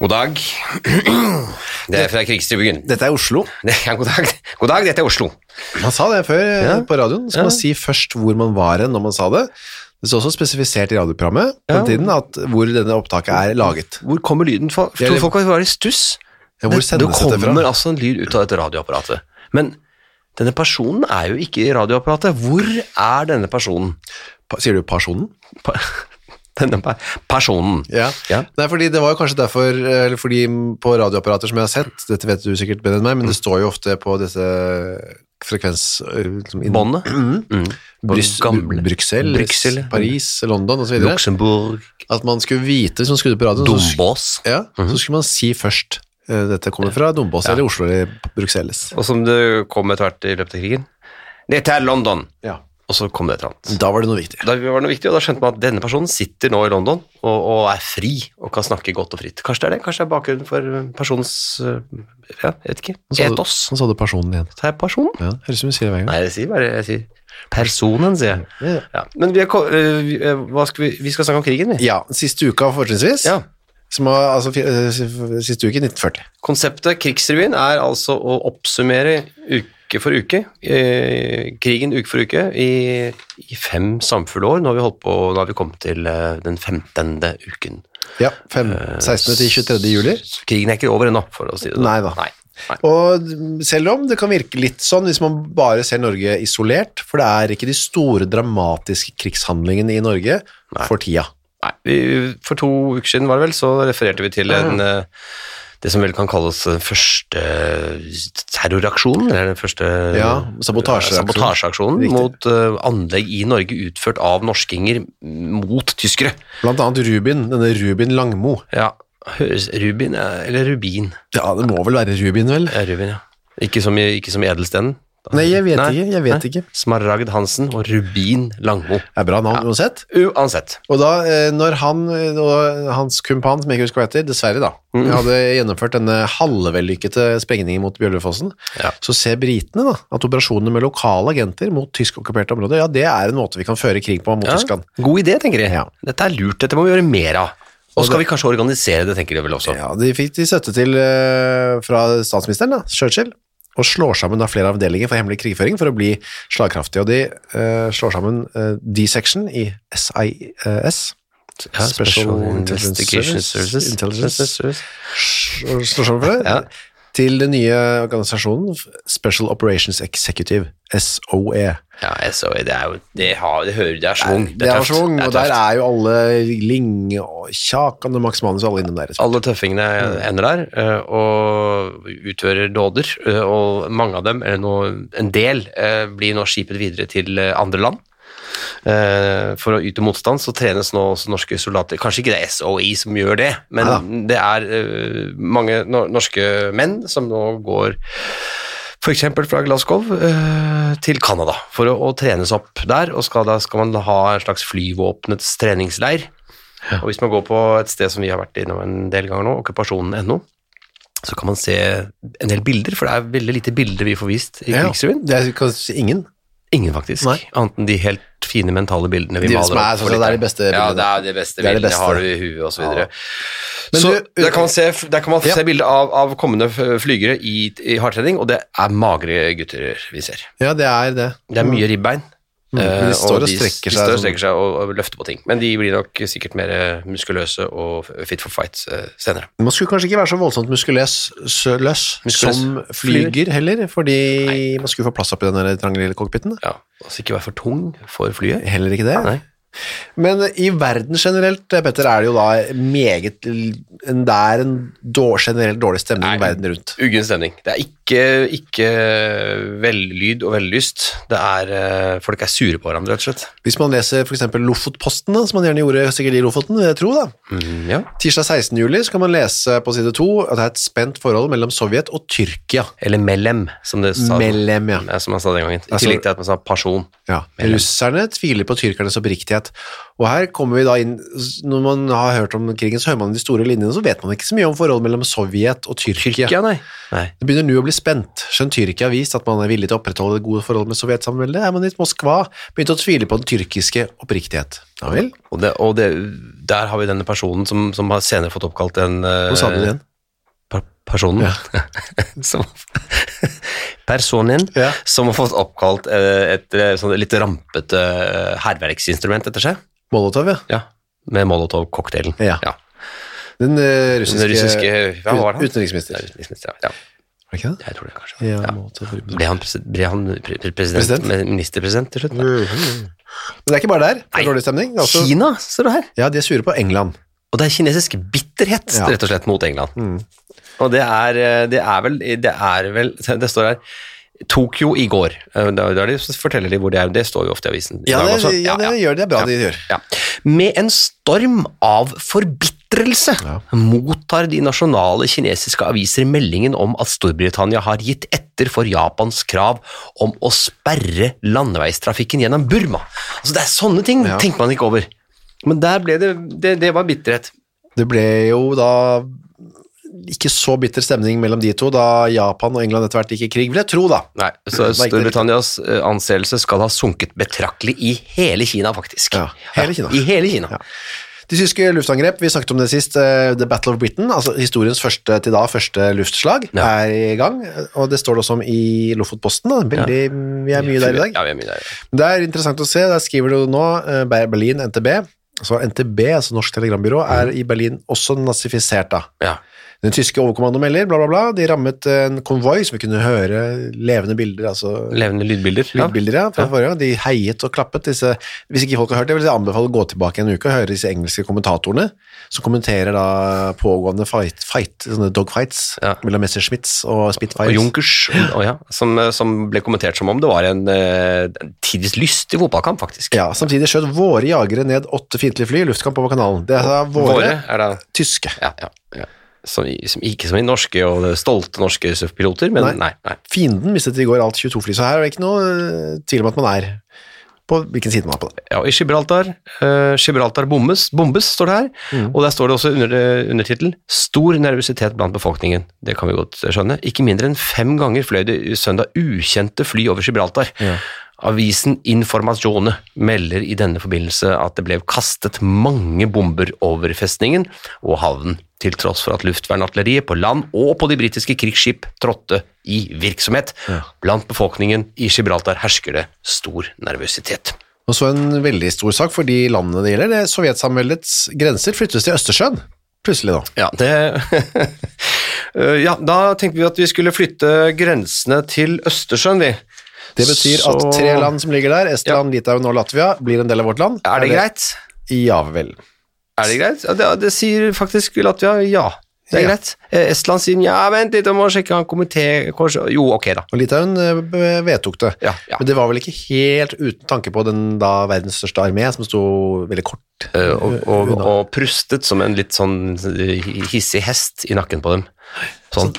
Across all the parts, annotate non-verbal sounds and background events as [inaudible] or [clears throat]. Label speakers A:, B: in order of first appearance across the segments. A: God dag. [clears throat] Det er fra [laughs] Krigsrevyen.
B: Dette er Oslo.
A: Det er God dag, God dag dette er Oslo.
B: Man sa det før eh,
A: Ja.
B: på radioen. Så
A: Ja.
B: man si først hvor man var hen når man sa det. Det står også spesifisert i radioprogrammet på
A: Ja.
B: den tiden at hvor denne opptaket er laget.
A: Hvor kommer lyden fra?
B: er
A: Tror
B: litt-
A: folk at vi var i stuss?
B: Ja, hvor
A: Det-
B: sendes
A: det
B: dette fra?
A: kommer altså en lyd ut av dette radioapparatet. Men denne personen er jo ikke i radioapparatet. Hvor er denne personen?
B: Pa- Sier du personen?
A: Pa [laughs] denne pe- personen.
B: Ja.
A: Ja.
B: Nei, fordi det var jo kanskje derfor, eller fordi på radioapparater som jeg har sett, dette vet du sikkert bedre enn meg, men
A: Mm.
B: det står jo ofte på dette frekvens... øh, liksom inn-
A: Båndet.
B: Mhm.
A: Mm.
B: Brys
A: Gamle.
B: Bruxelles,
A: Bruxelles.
B: Paris, London osv.
A: Luxembourg. Mhm.
B: At man skulle vite, hvis man skrudde på radioen, så, sk-
A: Dombås.
B: ja, så skulle man si først eh, dette kommer fra Dombås eller Oslo eller Bruxelles.
A: Og som det kom etter hvert i løpet av krigen. Dette er London.
B: Ja.
A: Og så kom det et eller annet.
B: Da var det noe viktig.
A: Da var det noe viktig, og da skjønte man at denne personen sitter nå i London og, og er fri og kan snakke godt og fritt. Kanskje det er det? Kanskje det er bakgrunnen for eh, personens eh, Ja, jeg vet ikke.
B: Nå sa du-
A: Etos.
B: Nå sa du personen igjen.
A: Det er personen.
B: Ja, høres ut som du sier det hver gang.
A: Nei, jeg sier bare jeg sier personen, sier jeg.
B: Ja.
A: Ja. Men vi, er, ko- eh, vi, eh, hva skal vi, vi skal snakke om krigen, vi.
B: Ja, siste uka fortrinnsvis.
A: Ja.
B: Som var, altså, fi- eh, siste uke i 1940.
A: Konseptet Krigsrevyen er altså å oppsummere uke for uke, eh, krigen uke for uke, i, i fem samfulle år. Nå har vi holdt på, nå har vi kommet til eh, den 15. uken.
B: Ja, fem, 16. til 23. juli.
A: Så Krigen er ikke over ennå, for å si det sånn.
B: Nei da.
A: Nei. Nei.
B: Og selv om det kan virke litt sånn hvis man bare ser Norge isolert, for det er ikke de store dramatiske krigshandlingene i Norge for tida.
A: Nei. Vi, for to uker siden var det vel, så refererte vi til en, eh, det som vel kan kalles den første terroraksjonen, eller den første eh,
B: Ja, sabotasjeaksjonen.
A: sabotasjeaksjonen
B: Riktig.
A: mot eh, anlegg i Norge utført av norskinger mot tyskere.
B: Blant annet Rubin, denne Rubin Langmo.
A: Ja, høres Rubin, eh, eller Rubin.
B: Ja, det må vel være Rubin, vel?
A: Ja, Rubin, ja. Ikke som, i- ikke som i Edelstenen.
B: Nei, jeg vet
A: Nei,
B: ikke. jeg vet ikke.
A: Smaragd Hansen og Rubin Langmo.
B: Det er bra navn uansett.
A: Uansett.
B: Og da, eh, når han eh, og hans kumpan, som jeg ikke husker hva heter, dessverre da,
A: Mm.
B: hadde gjennomført denne halvvellykkete sprengningen mot Bjørlefossen,
A: Ja.
B: så ser britene da, at operasjonene med lokale agenter mot tysk-okkuperte områder, ja, det er en måte vi kan føre krig på mot
A: Ja,
B: Tyskland.
A: God idé, tenker de.
B: Ja.
A: Dette er lurt, dette må vi gjøre mer av. Og skal vi kanskje organisere det, tenker de vel også.
B: Ja, de fikk de støtte til eh, fra statsministeren, da, Churchill, og slår sammen da flere avdelinger for hemmelig krigføring for å bli slagkraftige. Og de eh, slår sammen eh, D-section i SIS,
A: Ja,
B: Special Investigation Services.
A: Intelligence Service.
B: slår sammen for det,
A: Ja.
B: til den nye organisasjonen Special Operations Executive, SOE.
A: Ja, SOE, det er jo Det, har, det hører Det er svung.
B: Det er
A: tøft.
B: svung,
A: Det er
B: og der
A: tøft.
B: er jo alle Ling og Kjakan og Max Manus og alle innom der.
A: alle tøffingene ender der eh, og utfører dåder, eh, og mange av dem, eller noe, en del, eh, blir nå skipet videre til eh, andre land. Eh, For å yte motstand så trenes nå også norske soldater. Kanskje ikke det er SOE som gjør det, men det er eh, mange no- norske menn som nå går f.eks. fra Glasgow eh, til Canada for å, å trenes opp der, og skal, da skal man ha en slags flyvåpenets treningsleir. Og hvis man går på et sted som vi har vært innom en del ganger nå, okkupasjonen.no, så kan man se en del bilder, for det er veldig lite bilder vi får vist i
B: Ja,
A: Krigsrevyen.
B: det er kanskje ingen.
A: Ingen, faktisk.
B: Nei.
A: Annet enn de helt fine mentale bildene vi
B: De
A: maler
B: som er
A: opp. for
B: sånn at det er
A: lytterne.
B: de beste
A: Ja,
B: bildene.
A: det er de beste
B: Det er de
A: bildene.
B: beste.
A: Har du i huet, og så videre.
B: Men
A: så
B: du-
A: der kan man se, der kan man
B: Ja.
A: se bilder av, av kommende f- flygere i, i hardtrening, og det er magre gutter vi ser.
B: Ja, det er det.
A: Det er mye ribbein.
B: men Mm. de
A: eh,
B: står og
A: de, de
B: strekker seg
A: står
B: sånn.
A: og strekker seg og, og løfter på ting. Men de blir nok sikkert mer eh, muskuløse og f- fit for fight eh, senere.
B: Man skulle kanskje ikke være så voldsomt muskuløs sø- løs
A: Muskuløs.
B: som flyger heller, fordi man skulle få plass oppi den der trange lille cockpiten.
A: Ja, altså ikke være for tung for flyet.
B: Heller ikke det.
A: Nei.
B: Men i verden generelt, Petter, er det jo da meget l- en- Det er en dår, generelt dårlig stemning
A: Nei.
B: verden rundt.
A: Uggen stemning. Det er ikke ikke, ikke vellyd og vellyst. Det er, eh, folk er sure på hverandre, rett og slett.
B: Hvis man leser for eksempel Lofotposten, da, som man gjerne gjorde sikkert i Lofoten, vil jeg tro da.
A: Mm, ja.
B: Tirsdag 16. juli så kan man lese på side 2 at det er et spent forhold mellom Sovjet og Tyrkia.
A: Eller mellem, som, det sa,
B: Mellem, ja.
A: Ja, som man sa den gangen. I
B: Altså-
A: tillegg til at man sa person.
B: Ja,
A: Mellom.
B: russerne tviler på tyrkernes oppriktighet. Og her kommer vi da inn, når man har hørt om krigen, så hører man de store linjene, så vet man ikke så mye om forholdet mellom Sovjet og Tyrkia.
A: Ikke, ja, nei. nei.
B: Det begynner nå å bli spent. Skjønt Tyrkia har vist at man er villig til å opprettholde det gode forholdet med Sovjetsamveldet, er man i Moskva begynt å tvile på den tyrkiske oppriktighet. Ja vel?
A: Og, det, og det, der har vi denne personen som, som har senere fått oppkalt en eh,
B: Nå sa du det igjen.
A: per- Personen. [laughs] som, personen
B: Ja.
A: som har fått oppkalt eh, et, eh, sånn litt rampete eh, hærverksinstrument etter seg.
B: Molotov, ja.
A: Ja. Med Molotov-cocktailen.
B: Ja.
A: Ja.
B: Den eh,
A: Den
B: russiske,
A: russiske Hva var det han?
B: utenriksminister.
A: Ja,
B: Er
A: utenriksminister, ja.
B: det ikke det?
A: Jeg tror det, kanskje.
B: Ja,
A: Ja.
B: Molotov.
A: Ble han, presi- ble han pre pre president,
B: President? Mm,
A: med ministerpresident til slutt? da?
B: Men det er ikke bare der, det
A: Nei.
B: er dårlig stemning. Det er også-
A: Kina, ser du her.
B: ja, de er sure på England.
A: Og det er kinesisk bitterhet,
B: Ja.
A: rett og slett, mot England.
B: Mm.
A: Og det er, eh, det er vel Det er vel Det står her Tokyo i går. Eh, Da, da er de, så forteller de hvor det er. Det står jo ofte i avisen. i
B: Ja,
A: dag
B: det,
A: også.
B: ja, det gjør de, det er bra de gjør.
A: ja. Med en storm av forbitrelse
B: Ja.
A: mottar de nasjonale kinesiske aviser meldingen om at Storbritannia har gitt etter for Japans krav om å sperre landeveistrafikken gjennom Burma. Altså Det er sånne ting
B: Ja.
A: tenker man ikke over. Men der ble det Det, det var bitterhet.
B: Det ble jo da ikke så bitter stemning mellom de to da Japan og England etter hvert gikk i krig, vil jeg tro da.
A: Nei, så
B: Det var ikke
A: Storbritannias eh, anseelse skal ha sunket betraktelig i hele Kina, faktisk.
B: Ja, hele Kina.
A: I hele Kina.
B: Ja. De tyske luftangrep, vi snakket om det sist, eh, The Battle of Britain, altså historiens første til da, første luftslag,
A: Ja.
B: er i gang, og det står det også om i Lofotposten da, veldig, vi er mye der i dag.
A: Ja, vi er mye der i dag.
B: Det er interessant å se, der skriver du nå eh, Berlin NTB, så NTB, altså Norsk Telegrambyrå,
A: Mm.
B: er i Berlin også nazifisert da.
A: Ja.
B: Den tyske overkommandoen melder, bla bla bla, de rammet en konvoi som vi kunne høre levende bilder, altså
A: Levende lydbilder. Ja.
B: lydbilder ja, fra forrige gang, de heiet og klappet disse, hvis ikke folk har hørt det, vil jeg anbefale å gå tilbake en uke og høre disse engelske kommentatorene, som kommenterer da pågående fight, fight sånne dogfights,
A: Ja.
B: mellom Messerschmitts og
A: Og
B: Spitfires.
A: Junkers, og ja, som, eh, som ble kommentert som om det var en, eh, en tidvis lystig fotballkamp, faktisk.
B: Ja, samtidig skjøt våre jagere ned åtte fiendtlige fly i luftkamp over kanalen. Det er da våre,
A: Våre er da
B: tyske.
A: ja, ja, ja. Som, i- som, Ikke som i norske og det stolte norske surfpiloter, men
B: Nei.
A: nei. nei,
B: Fienden mistet i går alt 22 fly, så her er det ikke noe eh, tvil om at man er på hvilken side man er på det.
A: Ja, og I Gibraltar eh, Gibraltar bombes, bombes, står det her. Og der står det også under eh, undertittel 'Stor nervøsitet blant befolkningen'. Det kan vi godt skjønne. Ikke mindre enn fem ganger fløy det søndag ukjente fly over Gibraltar. Avisen Informazione melder i denne forbindelse at det ble kastet mange bomber over festningen og havnen, til tross for at luftvernartilleriet på land og på de britiske krigsskip trådte i virksomhet. Blant befolkningen i Gibraltar hersker det stor nervøsitet.
B: Og så en veldig stor sak for de landene det gjelder, det er Sovjetsamveldets grenser flyttes til Østersjøen, plutselig nå.
A: Ja, det [laughs] Eh, Ja, da tenkte vi at vi skulle flytte grensene til Østersjøen, vi.
B: Det betyr at
A: Så-
B: tre land som ligger der, Estland, Litauen og Latvia, blir en del av vårt land.
A: Er det greit?
B: Ja vel.
A: Er det greit? Ja, det, det sier faktisk Latvia ja. Det er
B: Ja.
A: greit. Eh, Estland sier ja, vent litt, jeg må sjekke han komité kanskje- Jo, ok, da.
B: Og Litauen eh, b- vedtok det.
A: Ja, ja.
B: Men det var vel ikke helt uten tanke på den da verdens største armé, som sto veldig kort.
A: Eh, Og, og, og prustet som en litt sånn eh, hissig hest i nakken på dem. Sånn.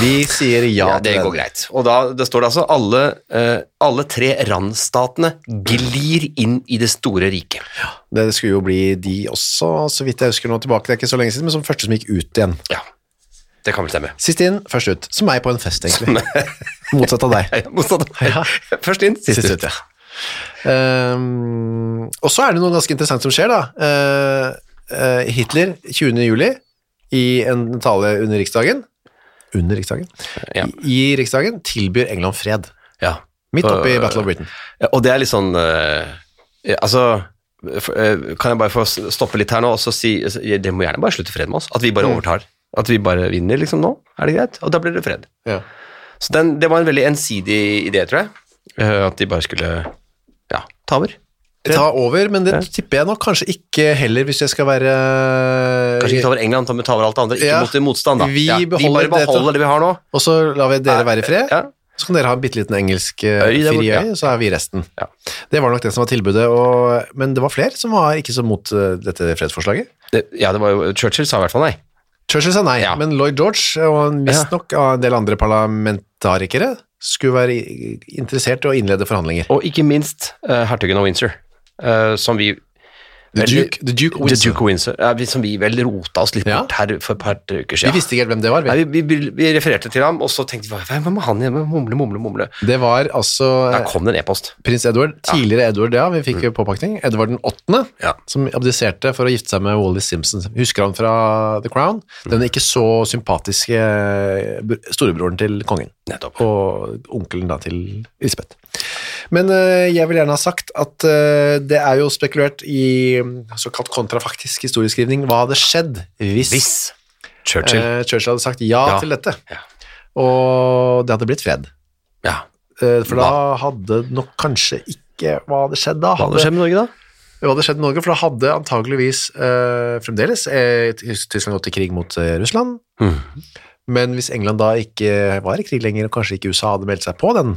B: De sier ja,
A: Ja, det
B: til den.
A: går greit. Og da det står det altså alle, eh, alle tre randstatene glir inn i det store riket.
B: Det skulle jo bli de også, så vidt jeg husker nå tilbake, det er ikke så lenge siden, men som første som gikk ut igjen.
A: Ja, det kan vel stemme.
B: Sist inn, først ut. Som meg på en fest, egentlig. Motsatt av deg.
A: Ja, ja, motsatt. Først inn, sist, ut.
B: ja. Ehm, og så er det noe ganske interessant som skjer, da. Eh, eh, Hitler, 20. juli, i en tale under Riksdagen, under Riksdagen,
A: Ja.
B: i, i Riksdagen, tilbyr England fred.
A: Ja.
B: Midt oppe i
A: Øh,
B: Battle of Britain.
A: Og det er litt sånn eh, ja, Altså f- eh, Kan jeg bare få s- stoppe litt her nå og så si Det må gjerne bare slutte fred med oss. At vi bare overtar. At vi bare vinner, liksom, nå. Er det greit? Og da blir det fred.
B: Ja.
A: Så den, det var en veldig ensidig idé, tror jeg. Eh, At de bare skulle Ja, ta over.
B: ta over, men det tipper jeg nok kanskje ikke heller, hvis jeg skal være
A: Kanskje ikke ta over England, men ta over alt det andre. Ikke
B: Ja.
A: mot motstand, da.
B: Vi
A: ja.
B: beholder
A: vi bare
B: det til-
A: beholder det vi har nå.
B: Og så lar vi dere være i fred.
A: Ja.
B: Så kan dere ha en bitte liten engelsk eh,
A: Øy der borte,
B: fri
A: ja.
B: øy, så er vi resten.
A: Ja.
B: Det var nok det som var tilbudet, og, men det var flere som var ikke så mot eh, dette fredsforslaget.
A: Det, ja, det var jo Churchill sa i hvert fall nei.
B: Churchill sa nei,
A: Ja.
B: men Lloyd George og visstnok av en del andre parlamentarikere skulle være i- interessert i å innlede forhandlinger.
A: Og ikke minst eh, hertugen av Windsor, eh, som vi
B: The
A: Veldig-
B: Duke, the Duke
A: The
B: Windsor.
A: Duke of Windsor, ja, vi- som vi vel rota oss litt
B: Ja.
A: bort her for et par uker
B: Vi
A: siden.
B: visste ikke helt hvem det var. Vi.
A: Nei, vi, vi, vi refererte til ham, og så tenkte vi hva hva må han igjen med? Mumle, mumle, mumle.
B: Det var altså
A: Da
B: eh,
A: kom det en e-post.
B: prins Edward, tidligere Edward, ja, vi fikk jo påpakning. Edward den åttende,
A: Mm. Ja.
B: som abdiserte for å gifte seg med Wallis Simpson. Husker han fra The Crown? Den
A: Mm.
B: ikke så sympatiske br- storebroren til kongen,
A: Nettopp.
B: og onkelen da til Lisbeth. Men eh, jeg vil gjerne ha sagt at eh, det er jo spekulert i mm, såkalt kontrafaktisk historieskrivning. Hva hadde skjedd hvis,
A: Hvis Churchill
B: eh, Churchill hadde sagt ja,
A: Ja.
B: til dette?
A: Ja.
B: Og det hadde blitt fred.
A: Ja.
B: Eh, For da hadde nok kanskje ikke Hva hadde skjedd da?
A: Hva hadde skjedd med Norge, da?
B: Hva hadde skjedd med Norge? For da hadde antageligvis eh, fremdeles eh, Tyskland gått til krig mot eh, Russland.
A: Mhm.
B: Men hvis England da ikke var i krig lenger, og kanskje ikke USA hadde meldt seg på den,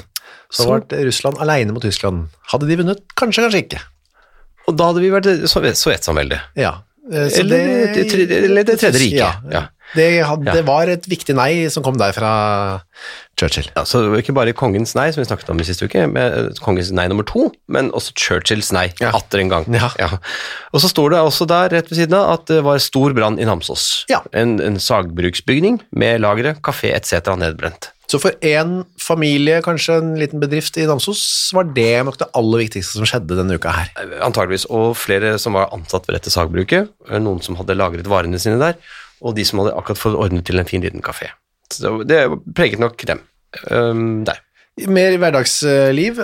B: så,
A: Så-
B: var Russland alene mot Tyskland. Hadde de vunnet? Kanskje, kanskje ikke.
A: Og da hadde vi vært Sovjet- Sovjetsamveldet.
B: Ja. Eh, så
A: Eller det, tredje- eller det tredje riket.
B: Ja.
A: ja.
B: Det, hadde,
A: Ja.
B: det var et viktig nei som kom der fra Churchill.
A: Ja, så det var ikke bare kongens nei, som vi snakket om i siste uke, men eh, kongens nei nummer to, men også Churchills nei,
B: Ja.
A: atter en gang.
B: Ja.
A: Og så står det også der rett ved siden av at det var stor brann i Namsos.
B: Ja.
A: En, en sagbruksbygning med lagre, kafé etc. nedbrent.
B: Så for én familie, kanskje en liten bedrift i Namsos, var det nok det aller viktigste som skjedde denne uka her.
A: Eh, Antageligvis, og flere som var ansatt ved dette sagbruket, eh, noen som hadde lagret varene sine der, og de som hadde akkurat fått ordnet til en fin liten kafé. Så det preget nok dem. Um, der.
B: Mer hverdagsliv.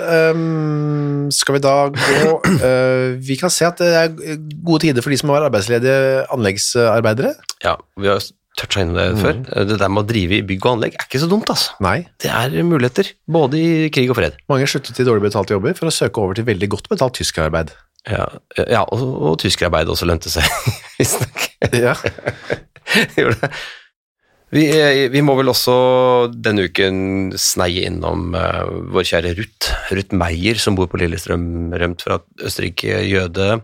B: ehm, skal vi da [clears throat] gå eh, Vi kan se at det er gode tider for de som var arbeidsledige anleggsarbeidere.
A: Ja, vi har toucha innom det før. Eh, Det der med å drive i bygg og anlegg er ikke så dumt, altså.
B: Nei.
A: Det er muligheter, både i krig og fred.
B: Mange sluttet i dårlig betalte jobber for å søke over til veldig godt betalt [laughs] tyskerarbeid.
A: Ja, Eh, ja og, og tyskerarbeid også lønte seg, [laughs] visstnok.
B: Ja.
A: [laughs] Gjorde det. Vi, eh, vi må vel også denne uken sneie innom eh, vår kjære Ruth. Ruth Meyer, som bor på Lillestrøm, rømt fra Østerrike, jøde.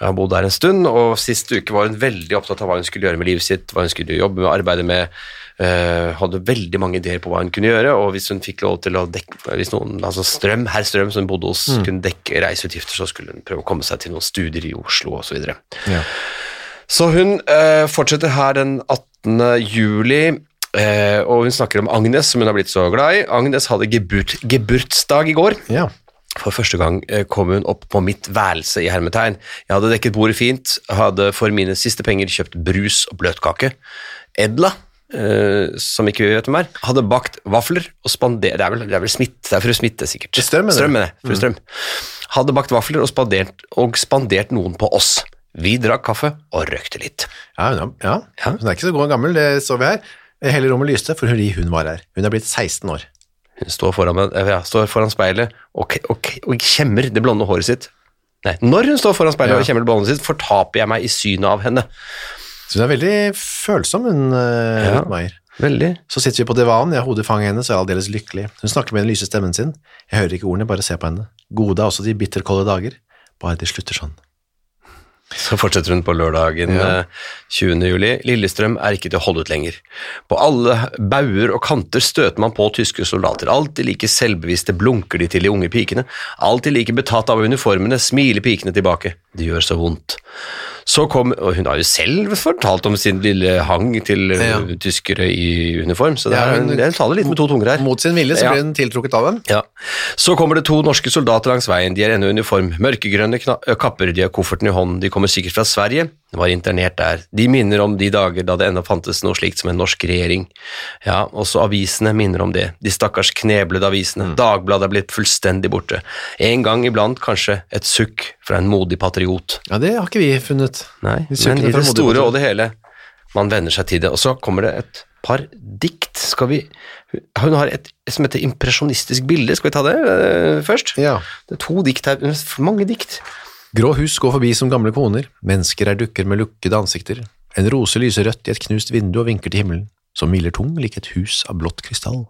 A: Har bodd der en stund, og sist uke var hun veldig opptatt av hva hun skulle gjøre med livet sitt, hva hun skulle jobbe med, arbeide med. eh, hadde veldig mange ideer på hva hun kunne gjøre, og hvis hun fikk lov til å dekke hvis noen, altså Strøm, herr Strøm, som hun bodde hos, kunne dekke reiseutgifter, så skulle hun prøve å komme seg til noen studier i Oslo osv. videre
B: Ja.
A: så hun eh, fortsetter her den 18. juli, eh, og hun snakker om Agnes, som hun har blitt så glad i. Agnes hadde geburt, geburtsdag i går.
B: ja.
A: For første gang eh, kom hun opp på mitt værelse i hermetegn. Jeg hadde dekket bordet fint, hadde for mine siste penger kjøpt brus og bløtkake. Edla, eh, som ikke vi vet hvem er, hadde bakt vafler og spandert Det er vel, det er vel smitt, det er fru Smitte, sikkert.
B: Strøm, mener du? Mm.
A: mener jeg. Fru Strøm. Hadde bakt vafler og spandert, og spandert noen på oss. Vi drakk kaffe og røkte litt.
B: Ja, hun er, ja. Hun er ikke så god og gammel, det så vi her. Hele rommet lyste, for hun, hun var her. Hun er blitt 16 år.
A: Hun står foran, meg- eh, ja, står foran speilet og, k- og, k- og kjemmer det blonde håret sitt. Nei, når hun står foran speilet
B: Ja.
A: og kjemmer det blonde sitt, fortaper jeg meg i synet av henne.
B: Så hun er veldig følsom, hun eh,
A: Ja.
B: Ruth Meier.
A: Veldig.
B: Så sitter vi på divanen, jeg har hodet i fanget hennes og jeg er aldeles lykkelig. Hun snakker med den lyse stemmen sin. Jeg hører ikke ordene, bare ser på henne. Gode er også de bitterkolde dager. Bare de slutter sånn.
A: Så fortsetter hun på lørdagen
B: Ja.
A: eh, 20. juli. Lillestrøm er ikke til å holde ut lenger. På alle bauger og kanter støter man på tyske soldater. Alltid like selvbevisste blunker de til de unge pikene. Alltid like betatt av uniformene smiler pikene tilbake. Det gjør så vondt. Så kom, og Hun har jo selv fortalt om sin lille hang til eh,
B: Ja.
A: tyskere i uniform, så det
B: Ja,
A: er,
B: hun-
A: en- det taler litt med to tunger her.
B: Mot sin vilje så
A: Ja.
B: blir hun tiltrukket av dem.
A: Ja. Så kommer det to norske soldater langs veien. De er ennå i uniform. Mørkegrønne kna ø, kapper, de har kofferten i hånden. De kommer sikkert fra Sverige. De var internert der. De minner om de dager da det ennå fantes noe slikt som en norsk regjering. Ja, også avisene minner om det. De stakkars kneblede avisene. Dagbladet er blitt fullstendig borte. En gang iblant kanskje et sukk fra en modig patriot.
B: Ja, det har ikke vi funnet.
A: Nei,
B: Vi søker
A: men i det
B: etter modig
A: store
B: patriot.
A: og det hele. Man venner seg til det. Og så kommer det et par dikt, Skal vi Hun har et som heter impresjonistisk bilde. Skal vi ta det eh, først?
B: Ja.
A: Det er to dikt her. men for Mange dikt.
B: Grå hus går forbi som gamle koner, mennesker er dukker med lukkede ansikter. En rose lyser rødt i et knust vindu og vinker til himmelen, som hviler tom lik et hus av blått krystall.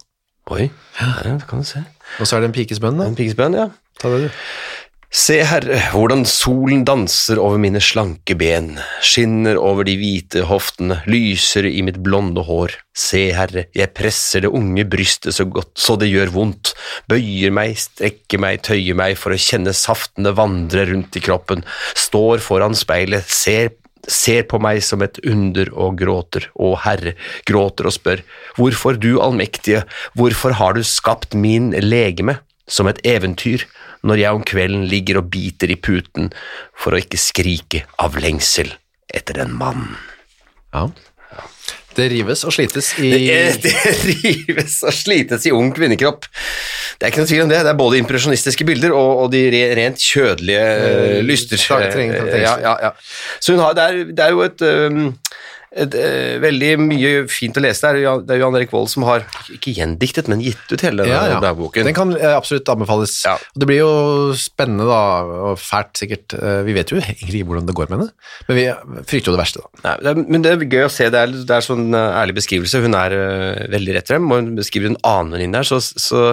A: Oi, ja, det kan du se.
B: Og så er det en pikes bønn, da.
A: En piggsbønn, ja.
B: Ta det, du.
A: Se, Herre, hvordan solen danser over mine slanke ben, skinner over de hvite hoftene, lyser i mitt blonde hår. Se, Herre, jeg presser det unge brystet så godt så det gjør vondt, bøyer meg, strekker meg, tøyer meg for å kjenne saftene vandre rundt i kroppen, står foran speilet, ser, ser på meg som et under og gråter, å Herre, gråter og spør, hvorfor du allmektige, hvorfor har du skapt min legeme? som et eventyr når jeg om kvelden ligger og biter i puten for å ikke skrike av lengsel etter en mann.
B: Ja. Det rives og slites i
A: Det rives og slites i ung kvinnekropp. Det er ikke noe tvil om det. Det er både impresjonistiske bilder og, og de re, rent kjødelige eh, lyster. Eh,
B: Trang- treng- treng-
A: ja, ja, ja. Så hun har, det, er, det er jo et, øhm, et øh, veldig mye fint å lese der. Ja, Det er jo Jan Erik Vold som har, ikke gjendiktet, men gitt ut hele
B: ja, ja.
A: denne dagboken.
B: Den kan eh, absolutt anbefales.
A: Ja.
B: Og det blir jo spennende da, og fælt sikkert. Eh, Vi vet jo egentlig ikke hvordan det går med henne, men vi frykter jo det verste. da.
A: Nei, det er, men det er gøy å se, det er, det er sånn eh, ærlig beskrivelse, hun er eh, veldig rett frem, og hun beskriver en annen venninne her, så, så,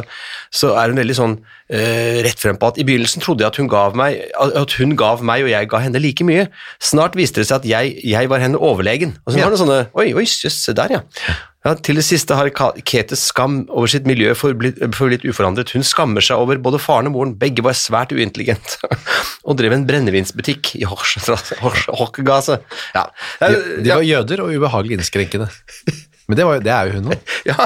A: så er hun veldig sånn eh, rett frem på at i begynnelsen trodde jeg at hun gav meg, at at hun gav meg og jeg ga henne like mye. Snart viste det seg at jeg, jeg var henne overlegen. Og så
B: Ja.
A: har hun sånne, oi, oi, jøss, se der ja. Ja, til det siste har Ka- Ketes skam over sitt miljø forblitt, forblitt uforandret. Hun skammer seg over både faren og moren, begge var svært uintelligente, [laughs] og drev en brennevinsbutikk i Horsstrasse. Hors- Hokkegase. Ja. Det
B: De,
A: er-
B: de var jøder og ubehagelig innskrenkende. Men det, var, jo- det er jo hun nå.
A: Ja.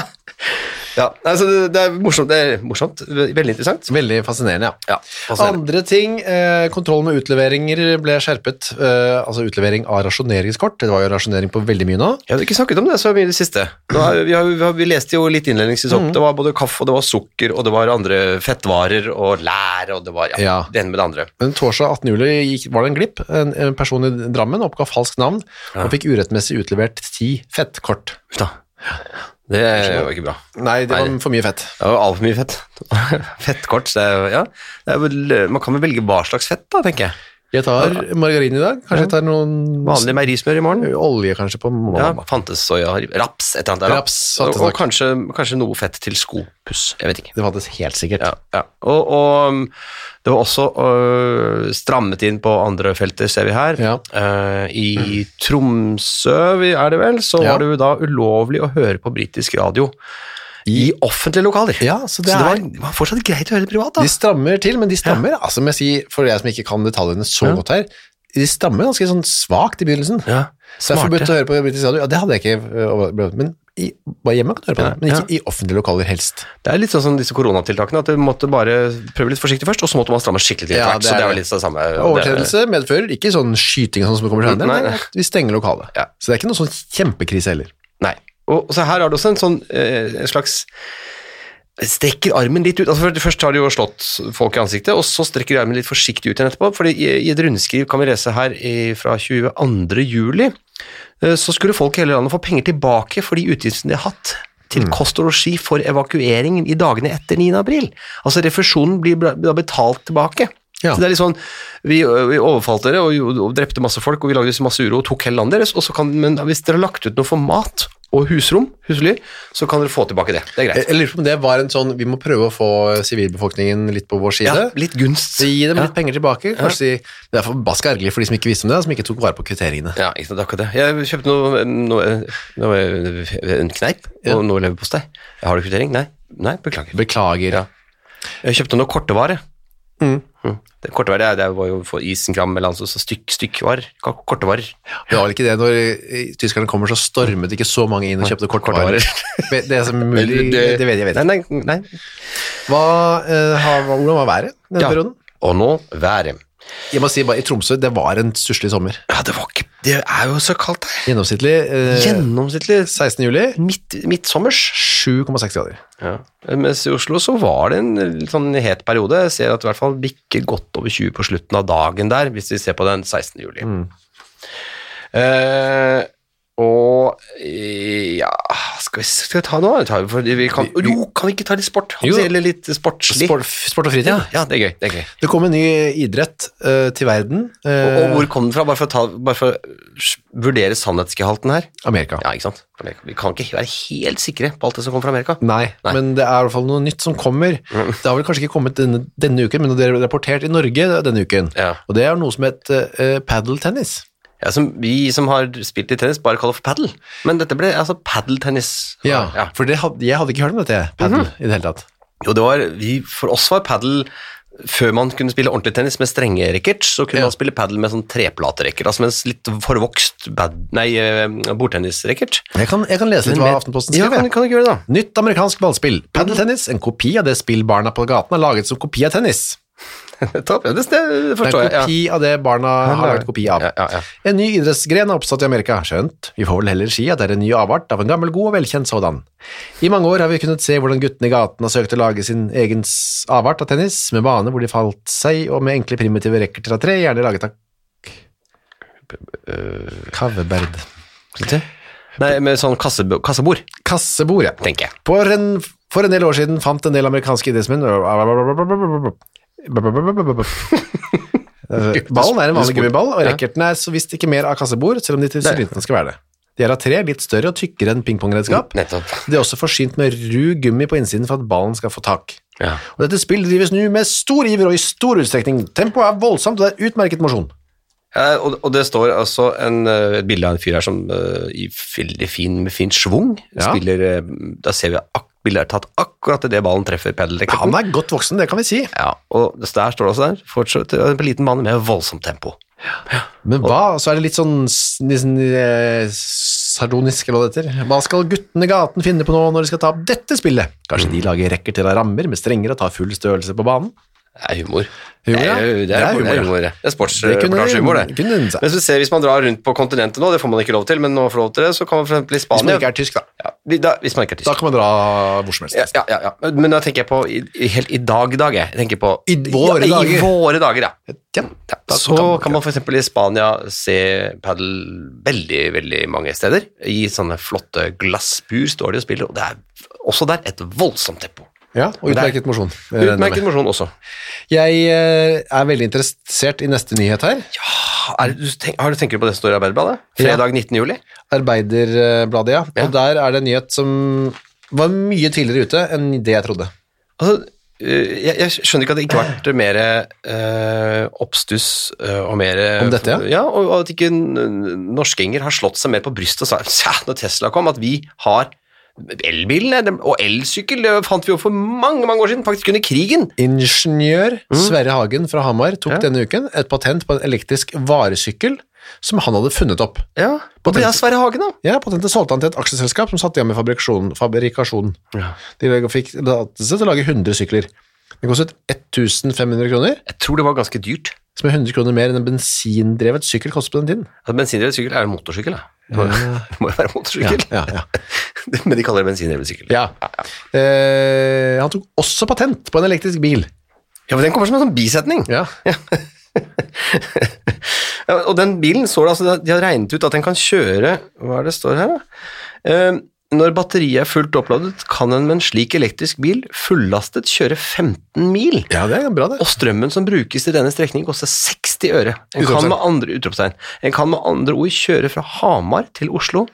A: ja. Altså, det, det er morsomt. Det er morsomt. Veldig interessant.
B: Veldig fascinerende,
A: Ja,
B: ja.
A: fascinerende.
B: Andre ting, eh, kontroll med utleveringer ble skjerpet. Eh, altså utlevering av rasjoneringskort. Det var jo rasjonering på veldig mye nå.
A: Jeg hadde ikke snakket om det så mye i det siste. Nå er, vi, har, vi, har, vi leste jo litt innledningsvis opp. Det var både kaffe, og det var sukker, og det var andre fettvarer, og lær, og det var ja,
B: Ja.
A: det ene med det andre.
B: Men torsdag 18. juli gikk, var det en glipp. En, en person i Drammen oppga falskt navn og fikk urettmessig utlevert ti fettkort.
A: Uff da. Det var ikke bra.
B: Nei, det var
A: Nei.
B: for mye fett.
A: Det var altfor mye fett. [laughs] Fettkort, så det er, jo- ja. Det er vel, eh, man kan vel velge hva slags fett, da, tenker jeg.
B: Jeg tar margarin i dag. Kanskje jeg tar noen
A: Vanlig meierismør i morgen.
B: olje kanskje på
A: Ja,
B: mandag.
A: fantes soya, raps, et eller annet. der, da.
B: Raps, fantes
A: og og
B: nok.
A: kanskje, kanskje noe fett til skopuss. Jeg vet ikke.
B: Det fantes helt sikkert.
A: Ja, ja. Og, og um, det var også øh, strammet inn på andre felter, ser vi her.
B: Ja.
A: Eh, I Tromsø, vi- er det vel, så
B: Ja.
A: var det jo da ulovlig å høre på britisk radio i offentlige lokaler.
B: Ja, så det
A: så det
B: er-
A: var, det var fortsatt greit å høre det privat, da.
B: De strammer til, men de strammer, altså må jeg si, for jeg som ikke kan detaljene så
A: Ja.
B: godt her, de stammer ganske sånn svagt i begynnelsen.
A: ja,
B: Så jeg
A: smarte.
B: forbudte å høre på britisk radio. Ja, det hadde jeg ikke. øh, overbevist- Men i, bare hjemme kan du høre på
A: Ja,
B: det, men ikke i offentlige lokaler helst.
A: Det er litt sånn som disse koronatiltakene, at du måtte bare prøve litt forsiktig først, og så måtte man stramme skikkelig til.
B: Ja,
A: etter hvert,
B: det
A: så
B: er
A: det er jo
B: det.
A: litt det samme.
B: Overtredelse medfører ikke sånn skyting og sånn som det kommer
A: Nei,
B: senere, men
A: nei.
B: at vi stenger lokalet.
A: Ja.
B: Så det er ikke noe sånn kjempekrise heller.
A: Nei. Og så her har du også en sånn eh, en slags Strekker armen litt ut. altså først- Først har de jo slått folk i ansiktet, og så strekker de armen litt forsiktig ut igjen etterpå. fordi i, I et rundskriv kan vi lese her i, fra 22. juli, eh, så skulle folk i hele landet få penger tilbake for de utgiftene de har hatt til kost og losji for evakueringen i dagene etter 9. april. Altså refusjonen blir bra- da betalt tilbake.
B: Ja.
A: Så det er litt sånn, vi, ø, vi overfalt dere og, gjorde- og drepte masse folk, og vi lagde masse uro og tok hele landet deres, og så kan, men hvis dere har lagt ut noe for mat og husrom, husly, så kan dere få tilbake det. Det er
B: Eh, Jeg,
A: greit.
B: jeg lurer på om det var en sånn, vi må prøve å få sivilbefolkningen litt på vår side.
A: Ja, litt gunst.
B: Så Gi dem litt penger tilbake. Kanskje si, Det er forbaska ergerlig for de som ikke visste om det, som ikke tok vare på kvitteringene.
A: Ja, ikke sant, det er akkurat det. Jeg kjøpte noe, noe, noe en kneip og noe leverpostei. Jeg har du kvittering? Nei. Nei, beklager.
B: Beklager.
A: Ja. Jeg kjøpte noe kortevare. Mm. Det, kortevare det, er- det var jo for isenkram eller annet, så- så stykk, stykkvarer. Ka- Kortevarer.
B: Det var vel ikke det når eh, tyskerne kommer, så stormet ikke så mange inn og kjøpte kortvarer. Men [laughs] det er så mulig, det vet jeg, jeg vet
A: Nei,
B: ikke.
A: nei, nei.
B: Hva, eh, har- hva- hvordan var været denne
A: Ja.
B: perioden?
A: Og nå været.
B: Jeg må si bare, i Tromsø, det var en stusslig sommer.
A: Ja, det var ikke Det er jo så kaldt her.
B: Gjennomsnittlig eh,
A: Gjennomsnittlig
B: 16. juli,
A: midt, midtsommers.
B: 7,6 grader.
A: Ja. Mens i Oslo så var det en litt sånn het periode. Jeg ser at i hvert fall bikker godt over 20 på
B: Mm.
A: slutten av dagen der, hvis vi ser på den 16. juli. Eh, Og eh, ja Skal vi, skal vi ta noe? Tar vi for, vi kan,
B: Vi- vi-
A: jo, kan vi ikke ta litt sport?
B: Jo.
A: Hans gjelder litt sportslig.
B: Sport, sport og fritid.
A: Ja, ja, det er gøy. Det er gøy.
B: Det kom en ny idrett eh, til verden.
A: Og, og
B: eh,
A: hvor kom den fra? Bare for å, ta, bare for å vurdere sannhetsgehalten her.
B: Amerika.
A: Ja, ikke sant? Amerika. Vi kan ikke være helt sikre på alt det som kommer fra Amerika.
B: Nei,
A: Nei.
B: men det er i hvert fall noe nytt som kommer. Det har vel kanskje ikke kommet denne, denne uken, men det er rapportert i Norge denne uken.
A: Ja.
B: Og det er noe som heter uh, padeltennis.
A: Ja, som vi som har spilt i tennis, bare kaller for padel. Men dette ble altså padeltennis.
B: Ja, for det hadde, jeg hadde ikke hørt om dette, padel, i det hele tatt.
A: Jo, det var, vi, for oss var padel før man kunne spille ordentlig tennis med strenge rackets, så kunne
B: Ja.
A: man spille padel med sånn treplaterekker, altså med en litt forvokst bad, nei, eh, bordtennisracket.
B: Jeg kan, jeg kan lese litt
A: Men
B: hva
A: med-
B: Aftenposten
A: Ja,
B: skriver.
A: kan, kan du ikke gjøre det da?
B: Nytt amerikansk ballspill. Padeltennis, en kopi av det spill barna på gaten har laget som kopi av tennis.
A: [laughs] Topp, ja, det, det
B: Det
A: forstår
B: er
A: jeg.
B: en
A: Ja.
B: kopi av det barna
A: Ja, det
B: har
A: er-
B: laget kopi av.
A: Ja, ja, ja.
B: En ny idrettsgren er oppstått i Amerika, skjønt. Vi får vel heller si at det er en ny avart av en gammel god og velkjent sådan. I mange år har vi kunnet se hvordan guttene i gaten har søkt å lage sin egen s- avart av tennis, med bane hvor de falt seg, og med enkle primitive rekkerter av tre, gjerne laget av
A: øh.
B: Kaveberd.
A: Nei, med sånn kassebo- kassebord,
B: Kassebordet.
A: tenker jeg.
B: For en, for en del år siden fant en del amerikanske idrettsmenn Eh, [laughs] Ballen er en vanlig gummiball, og
A: Ja.
B: racketen er så visst ikke mer av kassebord, selv om de til synligheten skal være det. De er av tre, litt større og tykkere enn pingpongredskap.
A: Nettopp.
B: De er også forsynt med ru gummi på innsiden for at ballen skal få tak.
A: Ja.
B: Og dette spillet drives nå med stor iver og i stor utstrekning. Tempoet er voldsomt, og det er utmerket mosjon.
A: Ja, og, og det står altså en, eh, et bilde av en fyr her som eh, i veldig fin, med fin svung
B: Ja.
A: spiller eh, Da ser vi at ak bildet er tatt akkurat idet ballen treffer
B: Ja, Han
A: pedelracketen.
B: er godt voksen, det kan vi si.
A: Ja, og det- der står det også der. Fortsatt en liten bane med voldsomt tempo.
B: Men hva, så er det litt sånn s- litt sånn, eh, sardonisk, eller hva det heter. Hva skal guttene i gaten finne på nå når de skal ta opp dette spillet? Kanskje de lager rekker til rammer med strenger og tar full størrelse på banen?
A: Det er humor.
B: Humor,
A: det
B: ja.
A: er, jo- det
B: Det
A: er humor. Det
B: er
A: er,
B: humor,
A: humor, ja. Det er
B: Det kunne-
A: sportsreportasjehumor, det.
B: kunne hun sagt.
A: Men hvis, vi ser, hvis man drar rundt på kontinentet nå, det får man ikke lov til, men nå får man lov til det, så kan man for eksempel i
B: Hvis man
A: Spania
B: ikke er tysk, da.
A: ja, vi- da, Hvis man ikke er tysk.
B: Da kan man dra hvor som helst.
A: Ja, ja, ja, ja. Men da tenker jeg på i, i- helt i dag, dag, jeg. jeg tenker på,
B: I våre
A: ja,
B: dager.
A: I våre dager, ja.
B: Ja,
A: Ja,
B: da
A: så
B: kan-
A: kan man f.eks. i Spania se padel veldig veldig mange steder. I sånne flotte glassbur står de og spiller, og det er også der et voldsomt tempo.
B: ja og utmerket mosjon. Jeg regner med.
A: Utmerket mosjon også.
B: Jeg eh, er veldig interessert i neste nyhet her.
A: Er, du tenk, har du tenker du på det som står i Arbeiderbladet?
B: Ja.
A: Fredag 19. juli?
B: Arbeiderbladet, ja.
A: Ja.
B: Og der er det en nyhet som var mye tidligere ute enn det jeg trodde.
A: Altså, øh, jeg, jeg skjønner ikke at det ikke har vært mer øh, oppstuss øh, og mer
B: Om dette, ja?
A: Ja, og, og at ikke n- norskinger har slått seg mer på brystet og sagt ja, når Tesla kom, at vi har elbilen eh, dem- og elsykkel, det fant vi jo for mange, mange år siden, faktisk under krigen.
B: Ingeniør Sverre Hagen fra Hamar tok
A: Ja.
B: denne uken et patent på en elektrisk varesykkel som han hadde funnet opp.
A: Ja, og det er Sverre Hagen, da.
B: Ja, Patentet solgte han til et aksjeselskap som satte i gang med fabrikasjonen. fabrikasjonen.
A: Ja.
B: De fikk tillatelse til å lage 100 sykler. Det kostet 1500 kroner,
A: Jeg tror det var ganske dyrt.
B: som er 100 kroner mer enn en bensindrevet sykkel kostet på den tiden.
A: Altså, bensindrevet sykkel er jo en motorsykkel, da. Det må jo- [laughs] det må jo være motorsykkel.
B: Ja, ja, ja.
A: [laughs] Men de kaller det bensindrevet sykkel.
B: ja. Eh, han tok også patent på en elektrisk bil.
A: ja, men den kommer som en sånn bisetning.
B: Ja.
A: [laughs] Ja, og den bilen står det, altså, de har regnet ut at den kan kjøre Hva er det står her, da? Eh, når batteriet er fullt oppladet, kan en med en slik elektrisk bil fullastet kjøre 15 mil.
B: ja, det er bra det.
A: Og strømmen som brukes til denne strekningen, koster 60 øre. En kan,
B: Utropstegn.
A: med andre, utropstegn. en kan med andre ord kjøre fra Hamar til Oslo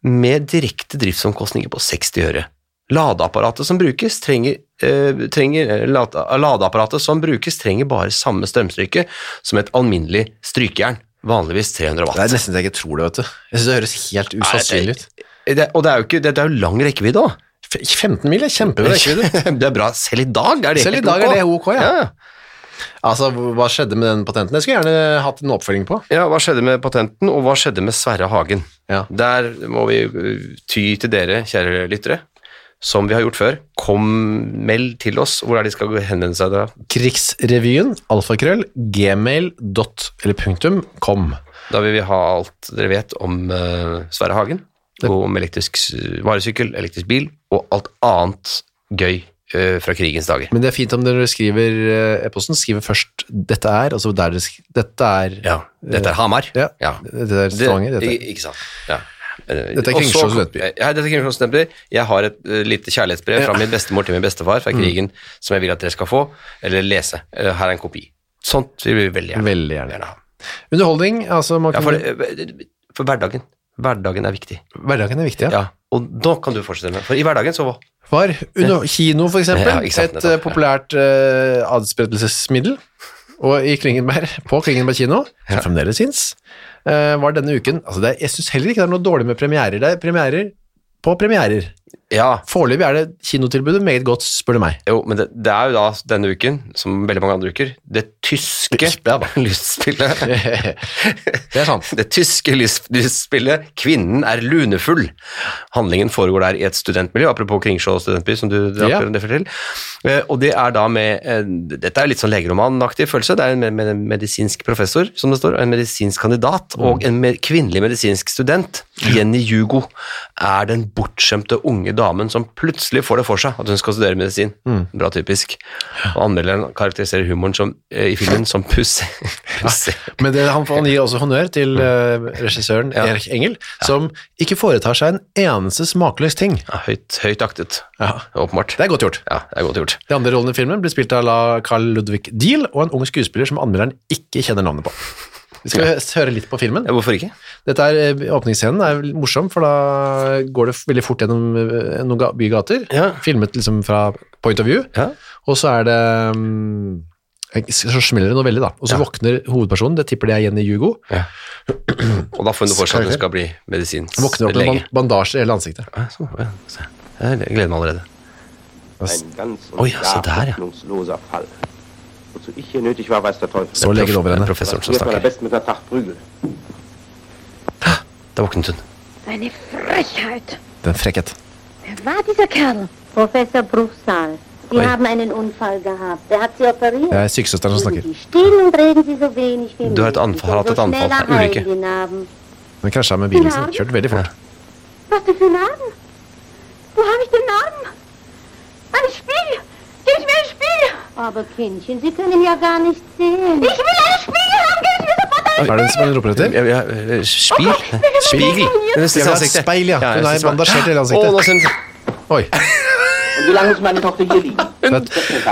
A: med direkte driftsomkostninger på 60 øre. Ladeapparatet som brukes, trenger, eh, trenger eh, lade, Ladeapparatet som brukes, trenger bare samme strømstyrke som et alminnelig strykejern, vanligvis 300
B: Det er
A: watt.
B: nesten så jeg ikke tror det, vet du. Jeg synes det høres helt usannsynlig ut.
A: Det, og det er jo, ikke, det, det er jo lang rekkevidde òg.
B: F- 15 mil er kjempebra rekkevidde.
A: [laughs] Det er bra. Selv i dag er det
B: Selv i
A: helt
B: dag
A: ok.
B: er det ok, ja.
A: ja.
B: Altså, hva skjedde med den patenten? Jeg skulle gjerne hatt en oppfølging på.
A: Ja, hva skjedde med patenten, og hva skjedde med Sverre Hagen?
B: Ja.
A: Der må vi uh, ty til dere, kjære lyttere, som vi har gjort før. Kom, meld til oss hvor er de skal henvende seg da.
B: Krigsrevyen, alfakrøll, gmail, dot, eller punktum, kom.
A: Da vil vi ha alt dere vet om eh, Sverre Hagen, og om elektrisk s- varesykkel, elektrisk bil, og alt annet gøy eh, fra krigens dager.
B: Men det er fint om dere skriver eh, e-posten, skriver først 'dette er', altså der dere sk- 'dette er'.
A: Ja, dette er Hamar.
B: Ja.
A: Ja.
B: Dette er
A: Det,
B: Stavanger, dette.
A: i- ikke sant. Ja. Eh,
B: Dette er Kringsjå studentby.
A: Ja, dette er Kringsjå studentby. Jeg har et eh, lite kjærlighetsbrev fra min bestemor til min bestefar
B: Mm.
A: fra krigen som jeg vil at dere skal få, eller lese. Eh, her er en kopi. Sånt vil vi veldig gjerne.
B: Veldig gjerne.
A: gjerne ha.
B: Underholdning, altså man
A: Ja,
B: kan,
A: for, eh, for hverdagen. Hverdagen er viktig.
B: hverdagen er viktig, ja.
A: Ja, og nå kan du fortsette med For i hverdagen så
B: Var under, kino, for eksempel,
A: Ja, ikke sant,
B: et
A: nettopp,
B: eh,
A: ja.
B: populært eh, adspredelsesmiddel, og i Klingenberg, på Klingenberg kino, som fremdeles finnes, eh, var denne uken, altså det er, jeg synes heller ikke det er noe dårlig med premierer, det er premierer på premierer.
A: Ja,
B: Foreløpig er det kinotilbudet meget godt, spør du
A: [laughs]
B: meg.
A: jo, men det, det er jo da denne uken, som veldig mange andre uker, det tyske
B: Ja da.
A: [laughs] lystspillet.
B: det er sant.
A: Det tyske lys- lysspillet 'Kvinnen er lunefull'. Handlingen foregår der i et studentmiljø, apropos Kringsjå studentby, som du dra-
B: Ja.
A: refererte til. Eh, Og det er da med eh, Dette er litt sånn legeromanaktig følelse. Det er en med- med- en medisinsk professor, som det står, og en medisinsk kandidat, og en me- kvinnelig medisinsk student, Jenny Hugo, er den bortskjemte unge damen som plutselig får det for seg at hun skal studere medisin. Bra typisk. Og anmelderen karakteriserer humoren som, eh, i filmen som pussig. Pussig.
B: Men det, han, han gir også honnør til
A: Mm.
B: eh, regissøren Erik Engel, som ikke foretar seg en eneste smakløs ting.
A: Ja, høyt, høyt aktet,
B: Ja.
A: åpenbart.
B: Det er godt gjort.
A: Ja, det er godt gjort.
B: De andre rollene i filmen blir spilt av La- Carl Ludvig Diehl og en ung skuespiller som anmelderen ikke kjenner navnet på. Vi skal høre litt på filmen.
A: Ja, hvorfor ikke?
B: Dette er, eh, Åpningsscenen er vel morsom, for da går det veldig fort gjennom eh, noen ga- bygater.
A: Ja.
B: Filmet liksom fra point of view.
A: Ja.
B: Og så er det mm, Så smeller det noe veldig, da. Og så våkner hovedpersonen, det tipper det er Jenny Hugo, [clears throat]
A: Og da får hun det for seg at hun skal bli medisinsk
B: våkner opp med ban- bandasje i hele ansiktet.
A: Ja, sånn, ja, se. Jeg gleder meg allerede.
C: Ein ganz und
A: Oh ja, så der, ja.
C: hoffnungsloser Fall. Wozu ich hier nötig war, weiß der Teufel.
B: Så legger det over
A: Det er
B: henne.
A: Professoren som
C: Wird man am
A: snakker.
C: besten mit einer Tacht prügeln.
A: Da våknet hun.
D: Eine Frechheit.
B: Den frekkhet.
D: Wer war dieser Kerl?
E: Professor Bruchsal, Sie
A: Oi.
E: haben einen Unfall gehabt. Er hat Sie operiert.
B: Det er sykesøsteren som
E: Liegen
B: snakker.
E: Sie still und reden Sie so wenig wie
A: Du hast
E: möglich.
A: Anfall, hat
E: Und so
A: das Anfall,
E: schnell
A: eine
E: erheilen
A: Ulrike.
E: die Narben.
B: Den krasja med bilen sin. Kjørt veldig fort.
E: Was denn für Narben?
D: Wo habe ich den Namen? Ein Spiel! Gib mir ein Spiel!
E: Aber Kindchen, Sie können ja gar nicht sehen.
D: Ich will ein Spiel haben! Gib mir sofort ein
B: Er det en som roper
A: Ja,
B: etter?
A: ja, eh, Spil? Spiegel. Det er
B: Det var et speil, ja. Hun er bandasjert i hele
A: Å, nå
B: ansiktet.
A: ser hun-
B: Oi.
C: Und wie lange muss meine Tochter hier liegen?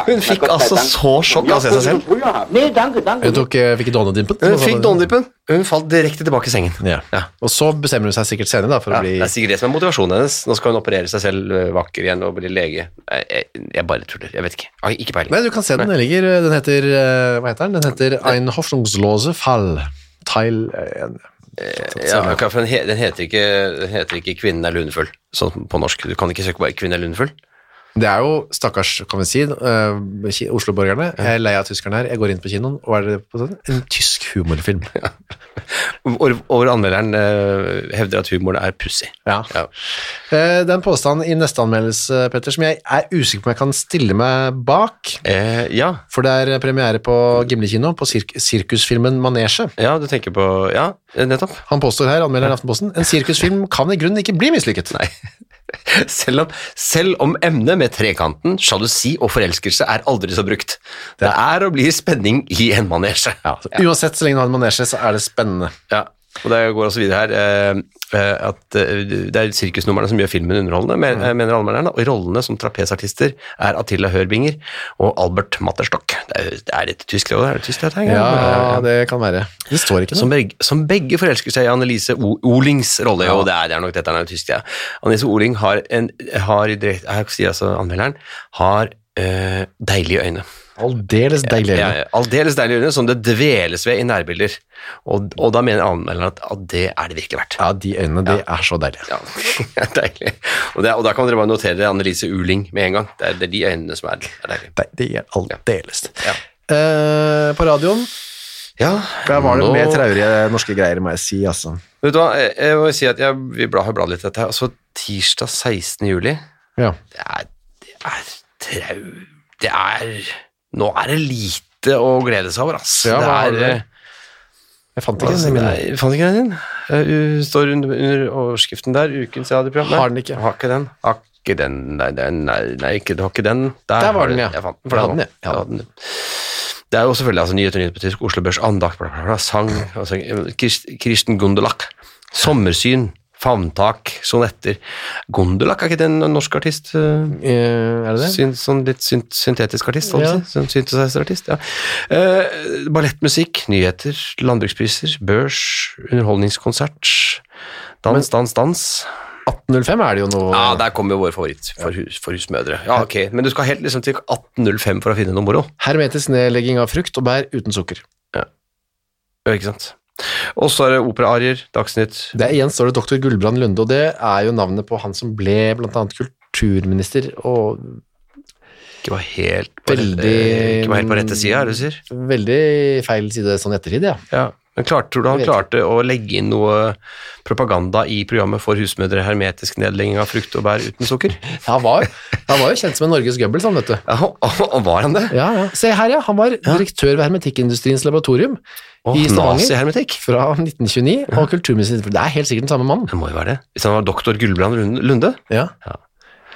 A: hun fikk altså så sjokk av å se seg selv.
C: Nee, danke, danke.
B: Hun tok, eh, fikk donedimpen.
A: Hun fikk dondippen. Hun falt direkte tilbake i sengen.
B: Ja.
A: Ja.
B: Og så bestemmer hun seg sikkert senere da, for
A: Ja,
B: å bli
A: det er sikkert det som er motivasjonen hennes. Nå skal hun operere seg selv eh, vakker igjen og bli lege. Jeg, jeg, jeg bare tuller. Jeg vet ikke. Jeg har ikke peiling.
B: Nei, du kan se den. Den ligger Den heter eh, Hva heter den? Den heter Ein hoffnungslose Fall. Teil eh,
A: Ja, ok, for den, he, den, heter ikke, den heter ikke 'Kvinnen er lunefull' sånn på norsk. Du kan ikke søke bare 'Kvinnen er lunefull'.
B: Det er jo, stakkars, kan vi si, eh, ki- Oslo-borgerne. Jeg er lei av tyskerne her. Jeg går inn på kinoen, og er det på sånn? En tysk humorfilm.
A: Over, over anmelderen eh, hevder at humoren er pussig.
B: Ja.
A: Ja.
B: Eh, Det er en påstand i neste anmeldelse, Petter, som jeg er usikker på om jeg kan stille meg bak.
A: Eh, ja.
B: For det er premiere på Gimle kino på sirk sirkusfilmen Manesje.
A: ja, du tenker på Ja, eh, nettopp. [laughs]
B: Han påstår her, anmelder i Aftenposten, en sirkusfilm kan i grunnen ikke bli mislykket. Nei.
A: Selv om, selv om emnet med trekanten, sjalusi og forelskelse er aldri så brukt. Det er og blir spenning i en manesje.
B: Ja, så [laughs] Uansett, så lenge du har en manesje, så er det spennende.
A: Ja, og det går også videre her eh, eh, at eh, det er sirkusnumrene som gjør filmen underholdende, men, eh, mener anmelderne, og rollene som trapesartister er Attila Hørbinger og Albert Matterstock. Det er, det er litt tysk, det også, er det tysk dette her?
B: Ja, det kan være. Det står ikke
A: Eh, Som
B: noe.
A: begge, som begge forelsker seg i Annelise O- Olings rolle, og det er, det er nok dette er jo tysk, ja. Annelise Oling har en, har i direkte, her sier altså anmelderen, har eh, deilige øyne.
B: Aldeles deilig.
A: Ja, ja, Aldeles deilige øyne som det dveles ved i nærbilder. Og, og da mener anmelderen at, at det er det virkelig verdt.
B: Ja, de øynene, de er så deilige.
A: Ja, [laughs] deilig. Og, det, er- og da kan dere bare notere det, Annelise Uling med en gang. Det er, det er de øynene som er, er deilige.
B: Nei, de er aldeles.
A: Ja.
B: Eh, på radioen,
A: Ja,
B: der var det
A: nå-
B: mer traurige norske greier, må jeg si, altså.
A: Vet du hva, jeg, jeg må si at jeg, vi bla, har bladd litt i dette her. Altså, tirsdag 16. juli,
B: Ja.
A: det er, det er trau... Det er Nå er det lite å glede seg over, ass.
B: Ja, hva har
A: det
B: du?
A: er eh,
B: Jeg fant ikke
A: altså, det
B: den, men
A: er- Fant ikke den din? Eh, u- Står under, under overskriften der, ukens radioprogram. Nei,
B: Har den ikke.
A: Har ikke den. Har ikke den, nei, den- nei, nei ikke, du har ikke den.
B: Der var
A: har du
B: den, ja.
A: Jeg fant den,
B: Jeg
A: for
B: hadde
A: den,
B: den, ja.
A: Jeg hadde den. Det er jo selvfølgelig altså, nyheter nyheter på tysk, Oslo Børs, andakt, bla, bla, bla, sang, altså, Krist- Kristen Gundelach, sommersyn, Favntak, sonetter. Gondolak, er ikke det en norsk artist? eh?
B: Eh, er det det?
A: Syn, sånn litt synt, syntetisk artist, holdt jeg på å si. Sånn synthesizerartist, ja. Eh, ballettmusikk, nyheter, landbrukspriser, børs, underholdningskonsert, dans, dans, dans.
B: 1805 er det jo noe
A: Ja, der kommer jo vår favoritt for, hus, for husmødre. Ja, ok, Men du skal helt liksom til 1805 for å finne noe moro.
B: Hermetisk nedlegging av frukt og bær uten sukker.
A: Ja, Ikke sant? Og så er det operaarier, Dagsnytt
B: Det er, igjen står det doktor Gullbrand Lunde, og det er jo navnet på han som ble blant annet kulturminister, og
A: Ikke var helt på,
B: Veldig-
A: eh, ikke var helt på rette sida, er det du sier?
B: veldig feil side sånn ettertid, ja.
A: Ja. Men klart, tror du han
B: Jeg vet
A: klarte å legge inn noe propaganda i programmet for husmødre, hermetisk nedlegging av frukt og bær uten sukker?
B: Han var, han var jo kjent som en Norges Goebbels, han, vet du.
A: Ja, og- og var han det?
B: Ja, ja. Se her, ja. Han var direktør ved Hermetikkindustriens laboratorium
A: Åh,
B: i Stavanger
A: Nazihermetikk?
B: fra 1929, og kulturminister Det er helt sikkert den samme mannen.
A: Det må jo være det. Hvis han var doktor Gullbrand Rund- Lunde?
B: Ja.
A: Ja.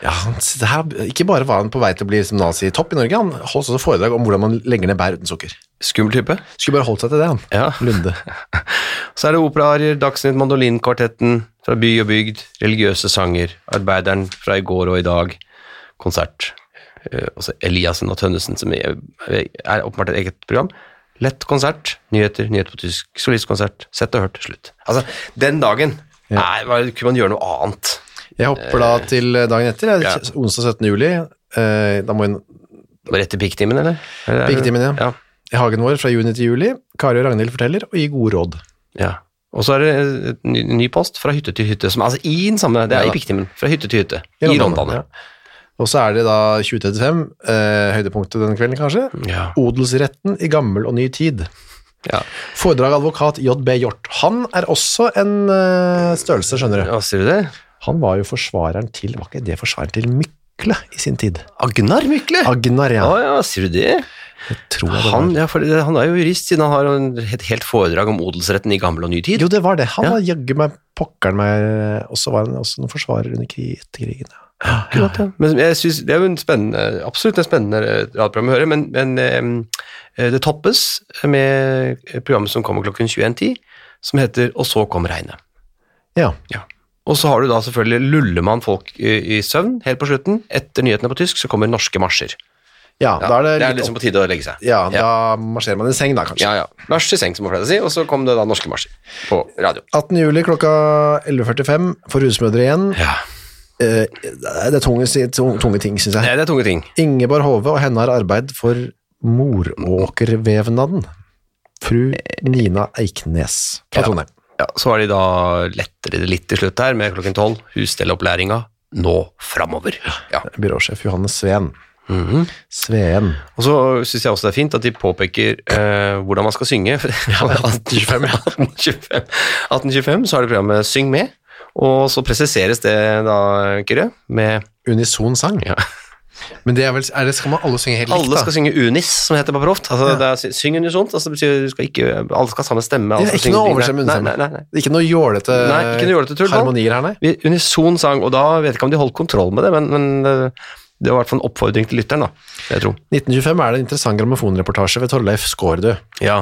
B: Ja, han, det her, ikke bare var han på vei til å bli som nazi-topp i Norge, han holdt også foredrag om hvordan man legger ned bær uten sukker.
A: Skummel type.
B: Skulle bare holdt seg til det, han.
A: Ja.
B: Lunde.
A: Så er det operaarier, Dagsnytt, mandolinkvartetten fra by og bygd, religiøse sanger, arbeideren fra i går og i dag, konsert. Eh, Og så Eliassen og Tønnesen, som er er åpenbart et eget program. Lett konsert, nyheter, nyheter på tysk, solistkonsert, sett og hørt, slutt. Altså, den dagen nei, hva- kunne man gjøre noe annet.
B: Jeg hopper da til eh, dagen etter, jeg,
A: Eh, ja.
B: onsdag 17. juli. Eh, da må jeg
A: Rett til pikktimen, eller? Eller er det-
B: Pikktimen, ja.
A: ja.
B: i hagen vår fra juni til juli. Kari og Ragnhild forteller og gir gode råd.
A: Ja. Og så er det et ny, ny post fra hytte til hytte, som, altså i den samme, det er
B: Ja.
A: i pikktimen, fra hytte til hytte,
B: I
A: i
B: Rondane,
A: Rondane.
B: Og så er det da 2035, eh, høydepunktet denne kvelden kanskje.
A: Ja.
B: Odelsretten i gammel og ny tid.
A: Ja.
B: Foredrag av advokat J.B. Hjort. Han er også en eh, størrelse, skjønner du.
A: Hva sier du det?
B: Han var jo forsvareren til, var ikke det forsvareren til Mykle i sin tid?
A: Agnar Mykle!
B: Agnar,
A: ja.
B: ja.
A: ja, sier du det?
B: Tror jeg det
A: Han,
B: var.
A: ja, for det- han er jo jurist, siden han har en- et helt foredrag om odelsretten i gammel og ny tid.
B: Jo, det var det. Han
A: Ja.
B: var jaggu meg pokkeren meg, og så var han også noen forsvarer under krig, etter krigen. Ja.
A: Akkurat, ja. Men jeg synes, det er jo en spennende, absolutt en spennende eh, radioprogram å høre, men, men eh, det toppes med programmet som kommer klokken 21.10, som heter «Og så kom regnet».
B: Ja.
A: Og så har du da selvfølgelig luller man folk i, i søvn helt på slutten. Etter nyhetene på tysk så kommer norske marsjer.
B: Ja,
A: Ja,
B: da er det, litt
A: liksom på tide å legge seg.
B: opp. Ja, da marsjerer man i seng da, kanskje.
A: Ja, ja. Marsj i seng, som man pleier å si, og så kom det da norske marsjer på radio.
B: 18. juli klokka 11.45 for husmødre igjen.
A: Ja.
B: Eh, det er tunge, si- tung- tunge ting, synes jeg.
A: Det er tunge ting.
B: Ingeborg Hove og henne har arbeid for moråkervevnaden. Fru Nina Eiknes fra
A: Ja.
B: Trondheim.
A: Ja, så har de da lettere det litt til slutt her, med klokken tolv. Husstellopplæringa nå framover. Ja.
B: Byråsjef Johanne Sveen.
A: Mhm.
B: Sveen.
A: Og så syns jeg også det er fint at de påpeker eh, hvordan man skal synge. [laughs] Ja, 1825, 1825. 1825, så har de programmet Syng med, og så presiseres det da, Kyrre, med
B: Unison sang.
A: Ja.
B: Men det er vel, er det, skal man alle synge helt likt,
A: Alle
B: da?
A: skal synge unis, som heter på proft. Altså, det er sy- Syng unisont, altså, det betyr du skal ikke, alle skal ha samme stemme. altså, Alle
B: Det er
A: skal
B: ikke
A: synge
B: noe
A: like-
B: overstemme,
A: Nei,
B: understemme.
A: nei, nei, nei.
B: Ikke noe jålete
A: Nei, ikke noe jålete tull,
B: harmonier her, nei?
A: Vi- Unison sang, og da vet jeg ikke om de holdt kontroll med det, men, men eh, det var i hvert fall en oppfordring til lytteren, da, vil jeg tro.
B: 1925 er det en interessant grammofonreportasje ved Torleif Skårdu.
A: Ja,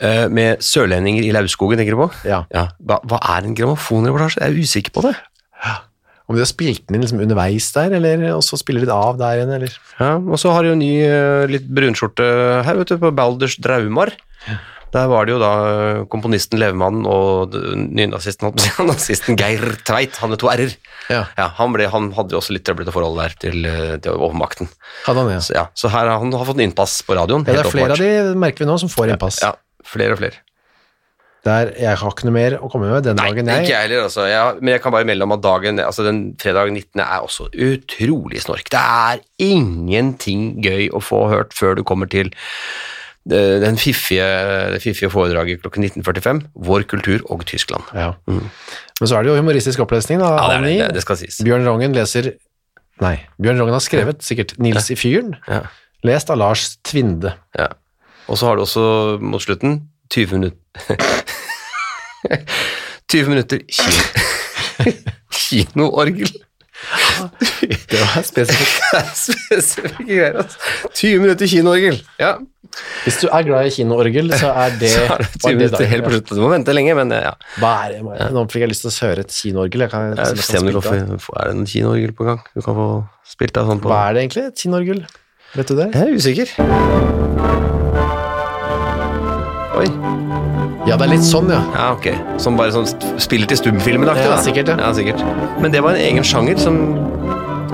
A: eh, Med sørlendinger i lauvskogen, tenker du på?
B: Ja.
A: Ja. Hva, hva er en grammofonreportasje? Jeg er usikker på det.
B: Om de har spilt den inn liksom underveis der, eller og så spiller de det av der igjen, eller?
A: Ja, og så har de jo en ny eh, litt brunskjorte her, vet du, på Balders Draumar. Der var det jo da eh, komponisten Levemann og d- nynazisten, holdt jeg på å si, [laughs] nazisten Geir Tveit, han med to r-er.
B: Ja.
A: Ja, han, ble, han hadde jo også litt trøblete forhold der til, eh, til overmakten.
B: Hadde han, ja.
A: Så, ja, så her har han har fått en innpass på radioen.
B: ja. Det
A: helt
B: er flere
A: åpenbart.
B: av de, merker vi nå, som får innpass.
A: Ja, flere og flere.
B: Der jeg har ikke noe mer å komme med den
A: Nei,
B: dagen
A: ikke
B: jeg
A: jeg heller, altså. Ja, men jeg kan bare melde om at dagen, altså den fredag 19. er også utrolig snork. Det er ingenting gøy å få hørt før du kommer til eh, den fiffige, det fiffige foredraget klokken 19.45, Vår kultur og Tyskland.
B: ja. Men så er det jo humoristisk opplesning, da.
A: Mm. Ja, det, er,
B: Anni.
A: det, det skal sies.
B: Bjørn Rongen leser Nei, Bjørn Rongen har skrevet sikkert 'Nils i fyren',
A: Ja.
B: lest av Lars Tvinde.
A: Ja. Og så har du også mot slutten 20 [laughs] minutter 20 minutter ki- [laughs] kinoorgel. [laughs]
B: Det var spesifikt.
A: Det er spesifikke greier, altså. 20 minutter kinoorgel. Ja.
B: Hvis du er glad i kinoorgel, så er det,
A: [laughs] Så er det
B: var
A: tydeligvis
B: dagen,
A: helt på
B: ja.
A: slutten. Du må vente lenge, men ja.
B: Bare, bare. Nå fikk jeg lyst til å høre et kinoorgel. Jeg kan,
A: Jeg
B: som
A: får
B: jeg
A: se om
B: kan
A: du kan
B: spille av.
A: få, få- er det en kinoorgel på gang. Du kan få spilt deg sånn på
B: Hva er det egentlig? Et kinoorgel? Vet du det?
A: Jeg er usikker. Oi.
B: Ja, det er litt
A: [laughs]
B: sånn, ja.
A: Ja, ok. Som bare sånn st- spiller til stumfilmen aktig,
B: Ja,
A: da.
B: sikkert, ja.
A: ja. sikkert. Men det var en egen sjanger som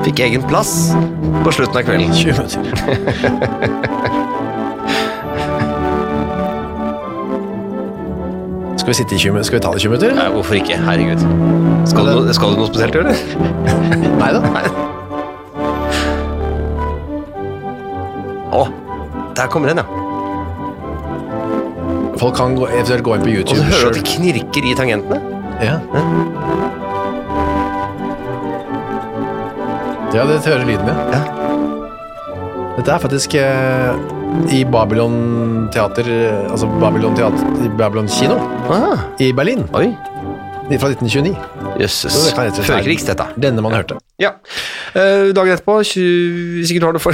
A: fikk egen plass på slutten av kvelden. [laughs]
B: 20 minutter. Skal vi, sitte i 20, min- skal vi ta det i 20 minutter?
A: Nei, hvorfor ikke? Herregud. Skal du, noe- skal du noe spesielt gjøre, eller?
B: Nei da.
A: Å, der kommer den, ja.
B: Folk kan gå, eventuelt gå inn på
A: Og så
B: YouTube
A: hører du at
B: sjøl.
A: det knirker i tangentene.
B: Ja. ja, det hører lyden med.
A: Ja.
B: Dette er faktisk eh, i Babylon teater, eh, altså Babylon teater, i Babylon kino
A: Ah,
B: i Berlin
A: oi.
B: fra 1929. Så
A: Jøsses.
B: det kan rett og slett være-
A: Førkrigs, dette.
B: Denne man hørte.
A: Ja. Eh, dagen etterpå, tju- hvis ikke du har noe for,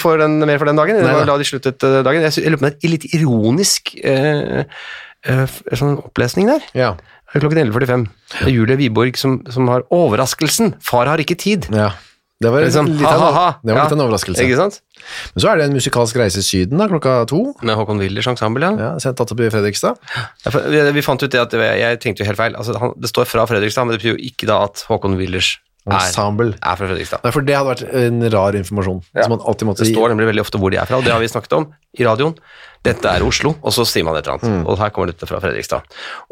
A: for [laughs] den, mer for den dagen,
B: Nei
A: eller
B: da.
A: da de sluttet eh, dagen Jeg sy- jeg lurer på om det er litt ironisk eh, eh, f- sånn opplesning der.
B: Ja.
A: Det er Klokken 11.45. Det er Julie Wiborg som, som har overraskelsen. Far har ikke tid.
B: ja. Det var
A: Det er liksom,
B: litt, av,
A: ha,
B: en-
A: ha, ha.
B: det var litt
A: Ja.
B: av en overraskelse.
A: Ikke sant?
B: Men så er det en musikalsk reise i Syden da, klokka to.
A: Med Håkon Willers ensemble, ja.
B: Ja, sendt tatt opp i Fredrikstad.
A: Ja, for Vi, vi fant ut det at det, var- jeg tenkte jo helt feil. Altså, han, det står fra Fredrikstad, men det betyr jo ikke da at Håkon Willers er,
B: Ensemble.
A: er fra Fredrikstad.
B: Nei, for det hadde vært en rar informasjon.
A: Ja.
B: Som man alltid måtte
A: Det står nemlig veldig ofte hvor de er fra, og det har vi snakket om i radioen. Dette er Oslo, og så sier man et eller annet. Og her kommer dette fra Fredrikstad.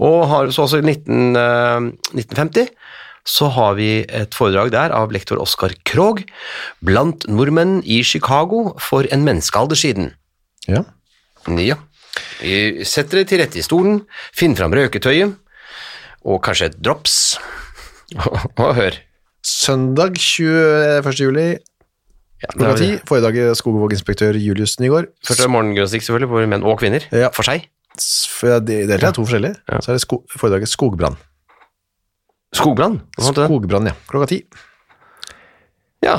A: Og har, så også i 19, eh, 1950 så har vi et foredrag der av lektor Oskar Krogh blant nordmenn i Chicago for en menneskealder siden.
B: Ja.
A: Ja. Eh, Sett dere til rette i stolen, finn fram røketøyet, og kanskje et drops. [laughs] Og hør.
B: Søndag 21. juli
A: Ja, det
B: klokka
A: er-
B: ti. Foredrag Skogevåg-inspektør Julius Nygaard.
A: Først er det morgengymnastikk, selvfølgelig, for menn og kvinner.
B: Ja.
A: For seg.
B: S- f- ja, Det det er to forskjellige.
A: Ja.
B: Så er det sko foredraget Skogbrann.
A: Skogbrann. hva fant du den?
B: Skogbrann, ja. Klokka ti.
A: Ja,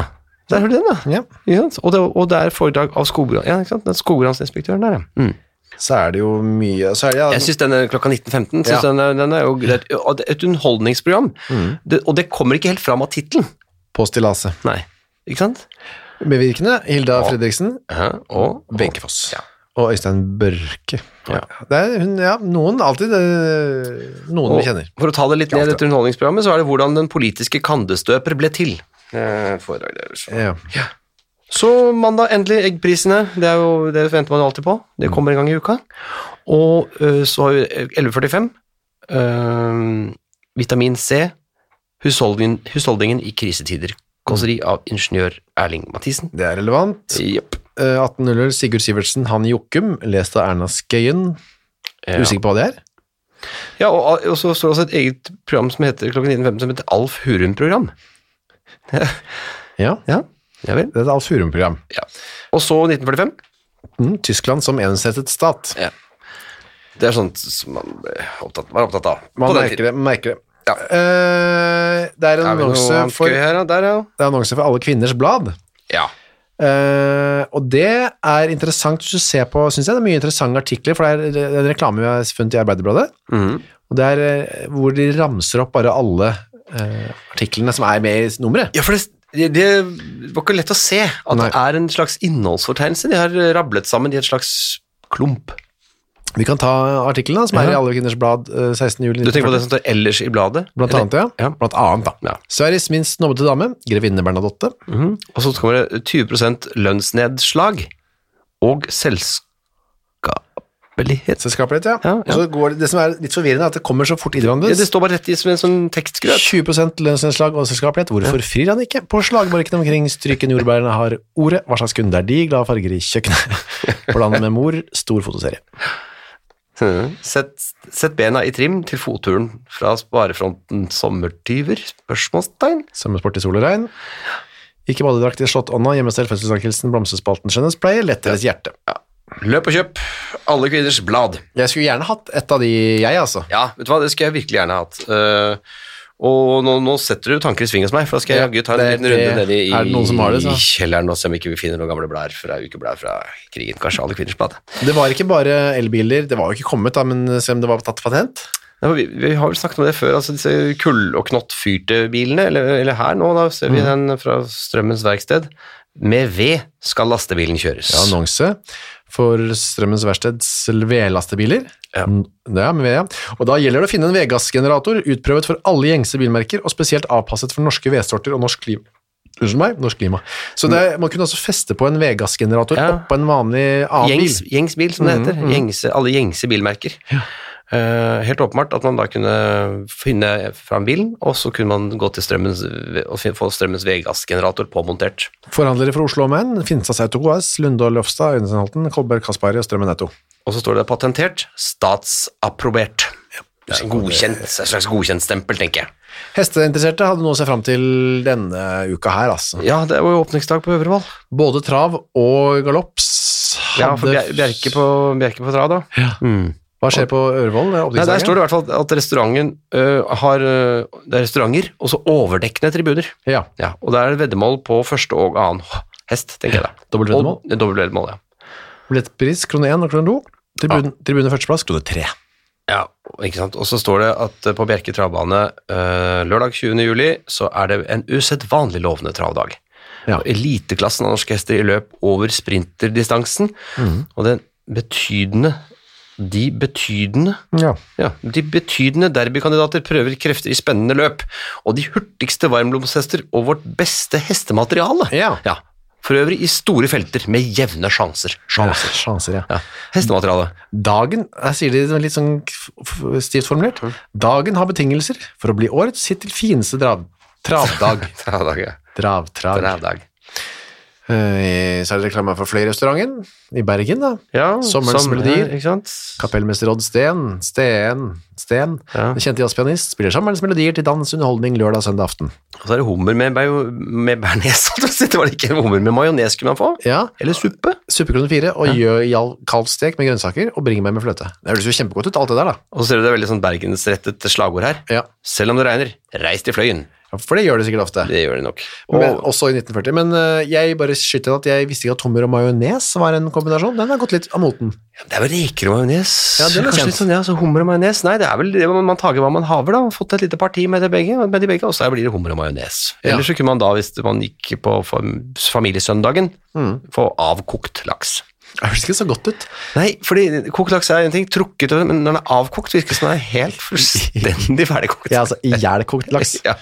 A: der har du den, da.
B: Ja.
A: Ikke sant? Og, det, og det er foredrag av Skogbrann. Ja, ikke sant? Den skogbrannsinspektøren der, ja. Mm.
B: Så er det jo mye så er det, ja,
A: Jeg syns den er klokka 19.15 synes
B: Ja.
A: den, er- den er jo det er et- og det er et underholdningsprogram. Det, og det kommer ikke helt fram av tittelen.
B: På stillaset.
A: Nei. Ikke sant?
B: Medvirkende Hilda Fredriksen,
A: Ja, og, og
B: Wenche Foss
A: Ja.
B: og Øystein Børke.
A: Ja.
B: Det er, hun, ja, noen alltid eh, Noen vi
A: Og
B: kjenner.
A: For å ta det litt ned i dette underholdningsprogrammet, så er det hvordan den politiske kandestøper ble til. Eh, Foredrag deres.
B: Ja.
A: Så mandag, endelig eggprisene. Det, er jo, det venter man jo alltid på. Det kommer en gang i uka. Og eh, så har vi eh, 11.45. eh, vitamin C. Husholdningen, husholdningen i krisetider. Kåseri av ingeniør Erling Mathisen.
B: Det er relevant.
A: Jepp.
B: Eh, 1800 Sigurd Sivertsen, Han Jokum, lest av Erna Skøyen.
A: Ja.
B: Usikker på hva det er?
A: Ja, og, og så står det også et eget program som heter klokken 19.15 som heter Alf Hurum-program.
B: Ja.
A: Ja, ja vel.
B: Det er et Alf Hurum-program.
A: Og så 1945.
B: Mm, Tyskland som ensrettet stat.
A: Det er sånt som man eh, opptatt, var opptatt av.
B: Man
A: på den
B: merker det. man merker det.
A: Ja.
B: Eh, det er en
A: Er vi noe
B: annonse
A: annet
B: for,
A: gøy
B: det
A: her, da? Der, ja.
B: er annonse for Alle kvinners blad.
A: ja.
B: Eh, og det er interessant hvis du ser på, synes jeg, det er mye interessante artikler, for det er en reklame vi har funnet i Arbeiderbladet,
A: Mhm.
B: og det er eh, hvor de ramser opp bare alle eh, artiklene som er med i nummeret.
A: Ja, for det, det, det var ikke lett å se at
B: Nei.
A: det er en slags innholdsfortegnelse. De har rablet sammen i et slags klump.
B: Vi kan ta artiklene da, som er i
A: Ja.
B: Alle kvinners blad eh, 16. juli
A: Du tenker på
B: 1940.
A: det som står ellers i bladet?
B: Blant annet, ja.
A: Ja.
B: Blant annet, da.
A: Ja.
B: Sveriges minst snobbete dame, grevinne Bernadotte.
A: Mhm. Og så kommer det 20 lønnsnedslag og selskapelighet.
B: Selskapelighet, ja.
A: Ja,
B: Og så går det, det som er litt forvirrende, er at det kommer så fort i hverandre.
A: Ja, det står bare rett i som en sånn tekstgrøt.
B: 20 lønnsnedslag og selskapelighet. Hvorfor frir han ikke? På slagmarkene omkring stryken jordbærene har ordet. Hva slags kunde er de? Glade farger i kjøkkenet.
A: [laughs]
B: Bland med mor. Stor fotoserie.
A: Sett, sett bena i trim til fotturen fra sparefronten sommertyver? Spørsmålstegn.
B: Svømmesport i sol og regn. Ikke badedrakt i slåttånda, hjemmestell, fødselsdankelsen, blomsterspalten, skjønnhetspleie, lett deres hjerte.
A: Løp og kjøp Alle kvinners blad.
B: Jeg skulle gjerne hatt et av de, jeg, altså.
A: Ja, vet du hva, det skulle jeg virkelig gjerne hatt. Eh, Og nå, nå setter du tanker i sving hos meg, for da skal jeg
B: Ja,
A: jaggu ta en
B: det-
A: liten runde
B: det-
A: nedi i,
B: er det noen som har det, så?
A: i kjelleren og se om ikke vi finner noen gamle blær fra ukeblær fra krigen. Kanskje alle kvinners plate.
B: Det var ikke bare elbiler, det var jo ikke kommet da, men selv om det var tatt patent.
A: Nei, men vi, vi har vel snakket om det før, altså disse kull- og knottfyrte bilene, eller, eller her nå, da ser vi
B: Mm.
A: den fra Strømmens verksted. Med ved skal lastebilen kjøres.
B: Ja, annonse for Strømmens Verksteds vedlastebiler.
A: Ja.
B: Mm, Det er med ved, ja. Og da gjelder det å finne en vedgassgenerator utprøvet for alle gjengse bilmerker, og spesielt avpasset for norske vedsorter og norsk klima. Unnskyld meg, norsk klima. Så det, er- man kunne også feste på en vedgassgenerator
A: Ja.
B: oppå en vanlig annen
A: Gjengs,
B: bil.
A: gjengsbil, som det heter. Gjengse, alle gjengse bilmerker. Eh, helt åpenbart at man da kunne finne fram bilen, og så kunne man gå til strømmens, og fin- få strømmens vedgassgenerator påmontert.
B: Forhandlere fra Oslo og Menn, Finstad Auto AS, Lunde og Løfstad, Øynesenhalten, Kolberg Kaspari og Strømmen Auto.
A: Og så står det patentert, statsapprobert. Det er en godkjent, det er en slags godkjentstempel, tenker jeg.
B: Hesteinteresserte hadde noe å se fram til denne uka her, altså.
A: Ja, det var jo åpningsdag på Øvrevoll.
B: Både trav og galopps
A: Ja, for
B: hadde-
A: Bjer- Bjerke på, Bjerke på Trad, da. Mm.
B: Hva skjer på Ørevoll? eh,
A: Nei, der står det i hvert fall at restauranten øh, har øh, Det er restauranter, og så overdekkende tribuner.
B: Ja.
A: Ja, og der er det veddemål på første og annen hest, tenker jeg da.
B: Dobbelt veddemål?
A: Og- Dobbelt veddemål, ja.
B: Billettpris krone 1 og krone 2. Tribune, tribune førsteplass krone 3.
A: Ja, ikke sant? Og så står det at eh, på Bjerke travbane eh, lørdag 20. juli så er det en usedvanlig lovende travdag.
B: Ja.
A: Og Eliteklassen av norske hester i løp over sprinterdistansen, og den betydende de betydende,
B: Ja.
A: ja, de betydende derbykandidater prøver krefter i spennende løp, og de hurtigste varmblomsthester og vårt beste hestemateriale.
B: Ja.
A: For øvrig i store felter med jevne sjanser. Sjanser.
B: Sjanser, ja.
A: Ja. Hestemateriale.
B: Dagen her sier de det litt sånn f- f- stivt formulert.
A: Mm.
B: Dagen har betingelser for å bli årets hittil fineste drav, [laughs]
A: [laughs]
B: travdag.
A: Travdag, ja.
B: Travtrag.
A: Travdag.
B: Eh, Så er det reklame for Fløyrestauranten i Bergen, da.
A: Ja,
B: Sommerens
A: sommer-
B: melodier.
A: ja, Ikke sant?
B: Kapellmester Odd Steen, Steen, Steen,
A: Ja.
B: den kjente jazzpianist, spiller sommerens melodier til dans, underholdning lørdag og søndag aften.
A: Og så er det hummer med, bajo- med bearnés. [laughs] holdt jeg på å si. Det var det ikke hummer med majones kunne man få.
B: Ja,
A: Eller suppe.
B: Suppekrone 4 og gjør jal- kalvstek med grønnsaker og bring meg med fløte. Det høres jo kjempegodt ut, alt det der da.
A: Og så ser du det er veldig sånn bergensrettet slagord her.
B: Ja,
A: Selv om det regner, reis til Fløyen.
B: for det gjør det sikkert ofte.
A: Det gjør det nok. Og,
B: Men, også i 1940. Men øh, jeg bare skyter inn at jeg visste ikke at hummer og majones var en kombinasjon. Den har gått litt av moten.
A: det er vel reker og majones.
B: Ja, det er
A: Kanskje
B: kjent.
A: litt Sånn, ja, så hummer og majones. Nei, det er vel det man- man tager hva man haver, da. Man har Fått et lite parti med, det begge, med de begge, og så blir det hummer og majones.
B: Ja.
A: Eller så kunne man da, hvis man gikk på fam- familiesøndagen, få avkokt laks.
B: Det høres ikke så godt ut.
A: Nei, fordi kokt laks er en ting, trukket over, men når den er avkokt, virker det som den er helt fullstendig [laughs] ferdigkokt.
B: Ja, altså, ihjelkokt laks.
A: [laughs]
B: [laughs]
A: Ja.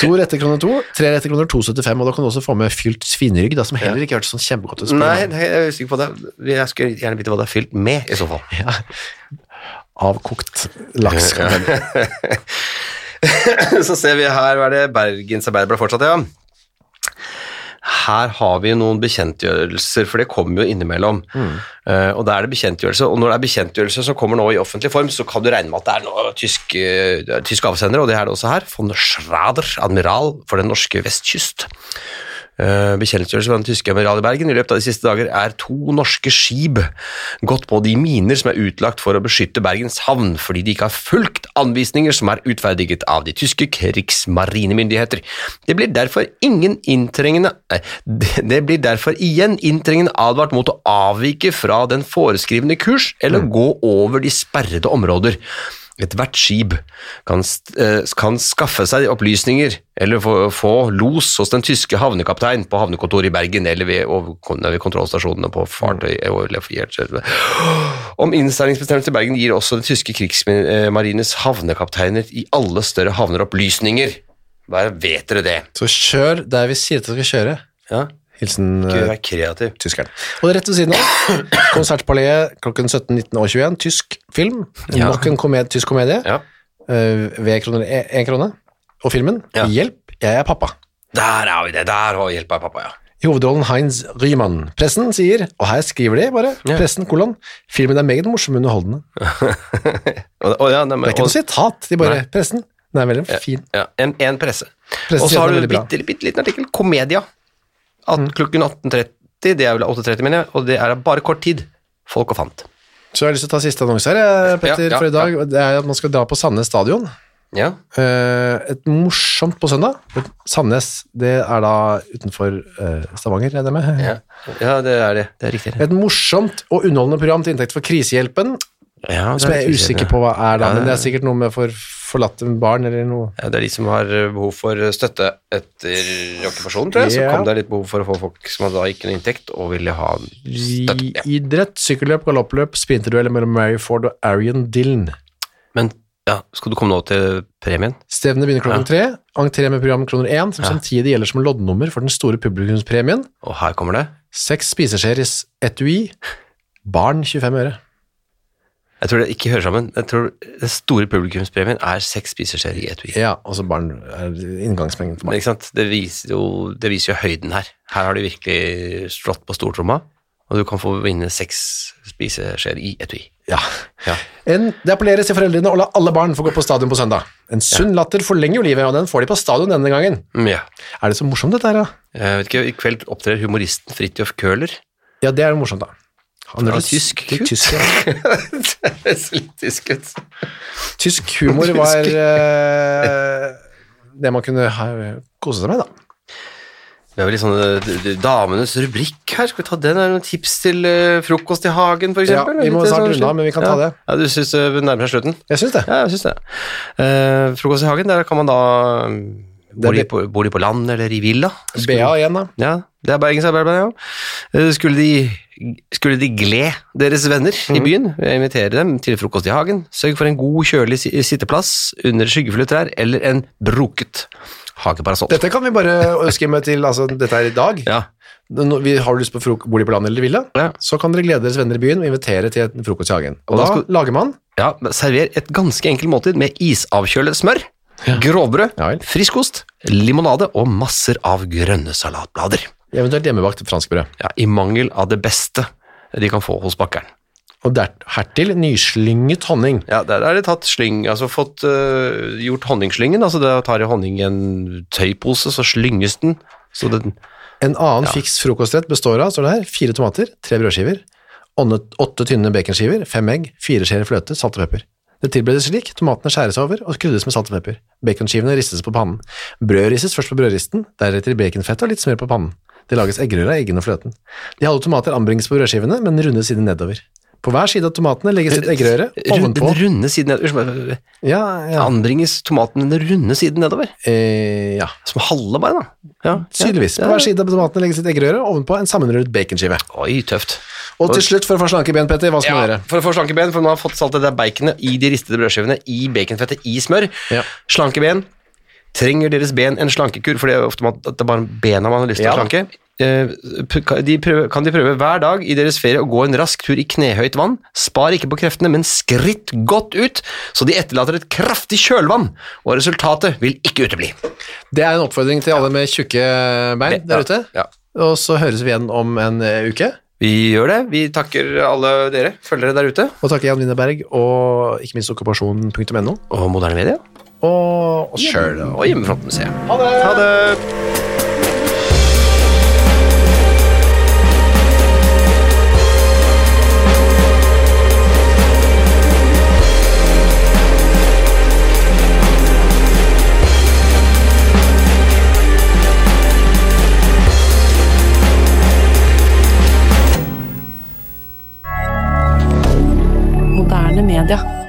B: To retter kroner to, tre retter kroner 2,75, og da kan du også få med fylt svinerygg, da, som heller ikke hørtes sånn kjempegodt ut.
A: Nei, det- jeg er usikker på det. Jeg skulle gjerne vite hva det er fylt med, i så fall.
B: Avkokt laks.
A: [laughs] Så ser vi her, hva er det Bergens Arbeiderblad fortsatt, ja. Her har vi noen bekjentgjørelser, for det kommer jo innimellom. Eh, og da er det bekjentgjørelse, og når det er bekjentgjørelse som kommer nå i offentlig form, så kan du regne med at det er noe tysk, eh, det er tysk avsender, og det er det også her. Von Schrader, admiral for den norske vestkyst. Eh, Bekjentgjørelse fra den tyske admiral i Bergen i løpet av de siste dager er to norske skip gått på de miner som er utlagt for å beskytte Bergens havn, fordi de ikke har fulgt anvisninger som er utferdiget av de tyske krigsmarinemyndigheter. Det blir derfor ingen inntrengende nei, [laughs] Det det blir derfor igjen inntrengende advart mot å avvike fra den foreskrivende kurs eller gå over de sperrede områder. Ethvert skip kan, st- eh, kan skaffe seg opplysninger eller få, få los hos den tyske havnekaptein på havnekontoret i Bergen eller ved, over, nei, ved kontrollstasjonene på fartøy eller Om innstillingsbestemmelsen i Bergen gir også den tyske krigsmarines havnekapteiner i alle større havner opplysninger. Bare vet dere det.
B: Så kjør der vi sier at du skal kjøre.
A: Ja,
B: Hilsen
A: Gud,
B: øh,
A: vær kreativ.
B: tyskeren. Og rett ved siden av, Konsertpalais klokken 17, 19 og 21, tysk film.
A: Ja.
B: Nok en komedie, tysk komedie.
A: Ja.
B: Eh, ved kroner, en en krone. Og filmen
A: Ja.
B: 'Hjelp, jeg er pappa'.
A: Der har vi det. Der har hjelp av pappa, ja.
B: I hovedrollen Heinz Riemann. Pressen sier, og her skriver de bare,
A: Ja.
B: pressen kolon, filmen er meget morsom og underholdende.
A: Og, og, ja nei, men-
B: Det er ikke
A: og-
B: noe sitat, de bare,
A: Nei.
B: pressen. Den er veldig fin.
A: Ja, en, en presse.
B: Presse
A: Og så har
B: sier
A: du en
B: den er veldig bra. Mm.
A: bitte, bitte liten artikkel, Komedia. 18, Klokken 18.30, det er vel 8.30, mener jeg, og det er bare kort tid. Folk og fant.
B: Så jeg har lyst til å ta siste annonse her, eh, Petter,
A: Ja, ja,
B: for i dag. og Det er at man skal dra på Sandnes stadion.
A: Ja.
B: Eh, et morsomt på søndag. Sandnes, det er da utenfor eh, Stavanger, regner jeg med.
A: Ja. ja, det er det. Det er riktig.
B: Et morsomt og underholdende program til inntekt for Krisehjelpen,
A: Ja, det
B: som jeg
A: litt
B: er usikker
A: usikker.
B: på hva er da,
A: Ja,
B: men det
A: ja.
B: er sikkert noe med for forlatte barn eller noe.
A: Ja, det er de som har eh, behov for eh, støtte etter okkupasjonen, tror jeg. Så
B: Ja.
A: kom det litt behov for å få folk som hadde da ikke noe inntekt, og ville ha støtte. Ja.
B: Idrett, sykkelløp, galoppløp, sprinterdueller mellom Mary Ford og Arian Dillon.
A: Men ja, skal du komme nå til premien?
B: Stevnet begynner klokken tre, entré med program kroner én, som samtidig gjelder som loddnummer for den store publikumspremien.
A: Og her kommer det.
B: Seks spiseskjeer i s- etui, barn 25 øre.
A: Jeg tror det ikke hører sammen. Jeg tror Den store publikumspremien er seks spiseskjeer i etui.
B: Ja, altså barn er inngangsmengden for
A: Men
B: barn.
A: ikke sant? Det, viser jo, det viser jo høyden her. Her har de virkelig slått på stortromma, og du kan få vinne seks spiseskjeer i etui.
B: Ja.
A: Ja.
B: En, det appelleres til foreldrene å la alle barn få gå på stadion på søndag. En sunn latter forlenger jo livet, og den får de på stadion denne gangen.
A: Mm, ja.
B: Er det så morsomt dette her, da?
A: Jeg vet ikke, I kveld opptrer humoristen Fridtjof Køhler.
B: [laughs] Ja, det er jo morsomt, da. Han
A: Fra
B: er
A: tysk
B: litt
A: kutt.
B: tysk, ja.
A: det høres litt tysk ut.
B: tysk
A: [laughs]
B: humor var eh, det man kunne ha, eh, kose seg med, da.
A: Vi har jo litt sånne d- d- damenes rubrikk her. Skal vi ta den? Er det noen tips til eh, frokost i hagen, f.eks.?
B: Ja, vi må snart runde av, men vi kan
A: eh, sånn ja.
B: ta det.
A: Ja, Du syns det nærmer seg slutten?
B: Jeg syns det.
A: Ja, jeg syns det. Eh, frokost i hagen, der kan man da mm,
B: er
A: Bor de,
B: litt-
A: på, bor de på land eller i villa?
B: BA igjen, da.
A: Ja, det er bergensarbeid, ja. Eh, Skulle de, skulle de gle deres venner i
B: Mhm.
A: byen, invitere dem til frokost i hagen, sørg for en god, kjølig si- sitteplass under skyggefulle trær eller en broket hageparasoll.
B: Dette kan vi bare skimme til. altså Dette er i dag.
A: Ja,
B: Når vi har du lyst på frok- bolig på landet eller i villa,
A: Ja. så,
B: så kan dere glede deres venner i byen og invitere til en frokost i hagen. Og,
A: Og da
B: da
A: skal-
B: lager man
A: ja, men server et ganske enkelt måltid med isavkjølet smør, grovbrød,
B: Ja vel.
A: friskost, limonade og masser av grønne salatblader.
B: eventuelt hjemmebakt franskbrød.
A: Ja, I mangel av det beste de kan få hos bakkeren.
B: Og der, hertil nyslynget honning.
A: Ja, der er det tatt slyng, altså fått øh, gjort honningslyngen, altså da tar jeg honning i en tøypose, så slynges den, så den,
B: En annen fiks frokostrett består av står det her, fire tomater, tre brødskiver, ånne- åtte tynne baconskiver, fem egg, fire skjeer fløte, salt og pepper. Det tilberedes slik, tomatene skjæres over og krydres med salt og pepper. Baconskivene ristes på pannen. Brød ristes først på brødristen, deretter i baconfett og litt smør på pannen. Det lages eggerøre av eggene og fløten. De halve tomater anbringes på brødskivene, men rundes siden nedover. På hver side av tomatene legges et eggerøre
A: Rund-
B: ovenpå.
A: den runde siden nedover,
B: Ja, ja.
A: anbringes tomaten den runde siden nedover,
B: Eh, ja.
A: som halve bare da. Ja,
B: Tydeligvis. På hver side av tomatene legges et eggerøre ovenpå en sammenrullet baconskive.
A: Oi, tøft.
B: Og til slutt, for å få slanke ben, Petter, hva skal man gjøre?
A: for å få slanke ben, for man har fått saltet det der baconet i de ristede brødskivene, i baconfettet, i smør.
B: Ja.
A: Slanke ben. Trenger deres ben en slankekur? For det er ofte man, at det er bare bena man har lyst til
B: Ja.
A: å slanke. Eh, p- kan de prøve, kan de prøve hver dag i deres ferie å gå en rask tur i knehøyt vann? Spar ikke på kreftene, men skritt godt ut, så de etterlater et kraftig kjølvann, og resultatet vil ikke utebli.
B: Det er en oppfordring til alle med tjukke bein
A: Be-
B: der
A: ja,
B: ute.
A: ja.
B: Og så høres vi igjen om en eh, uke.
A: Vi gjør det. Vi takker alle dere, følgere der ute,
B: Og takke Jan Winneberg og ikke minst okkupasjon.no
A: og moderne media,
B: og oss sjøl.
A: og Hjemmefrontmuseet.
B: Ha det!
F: Moderne media.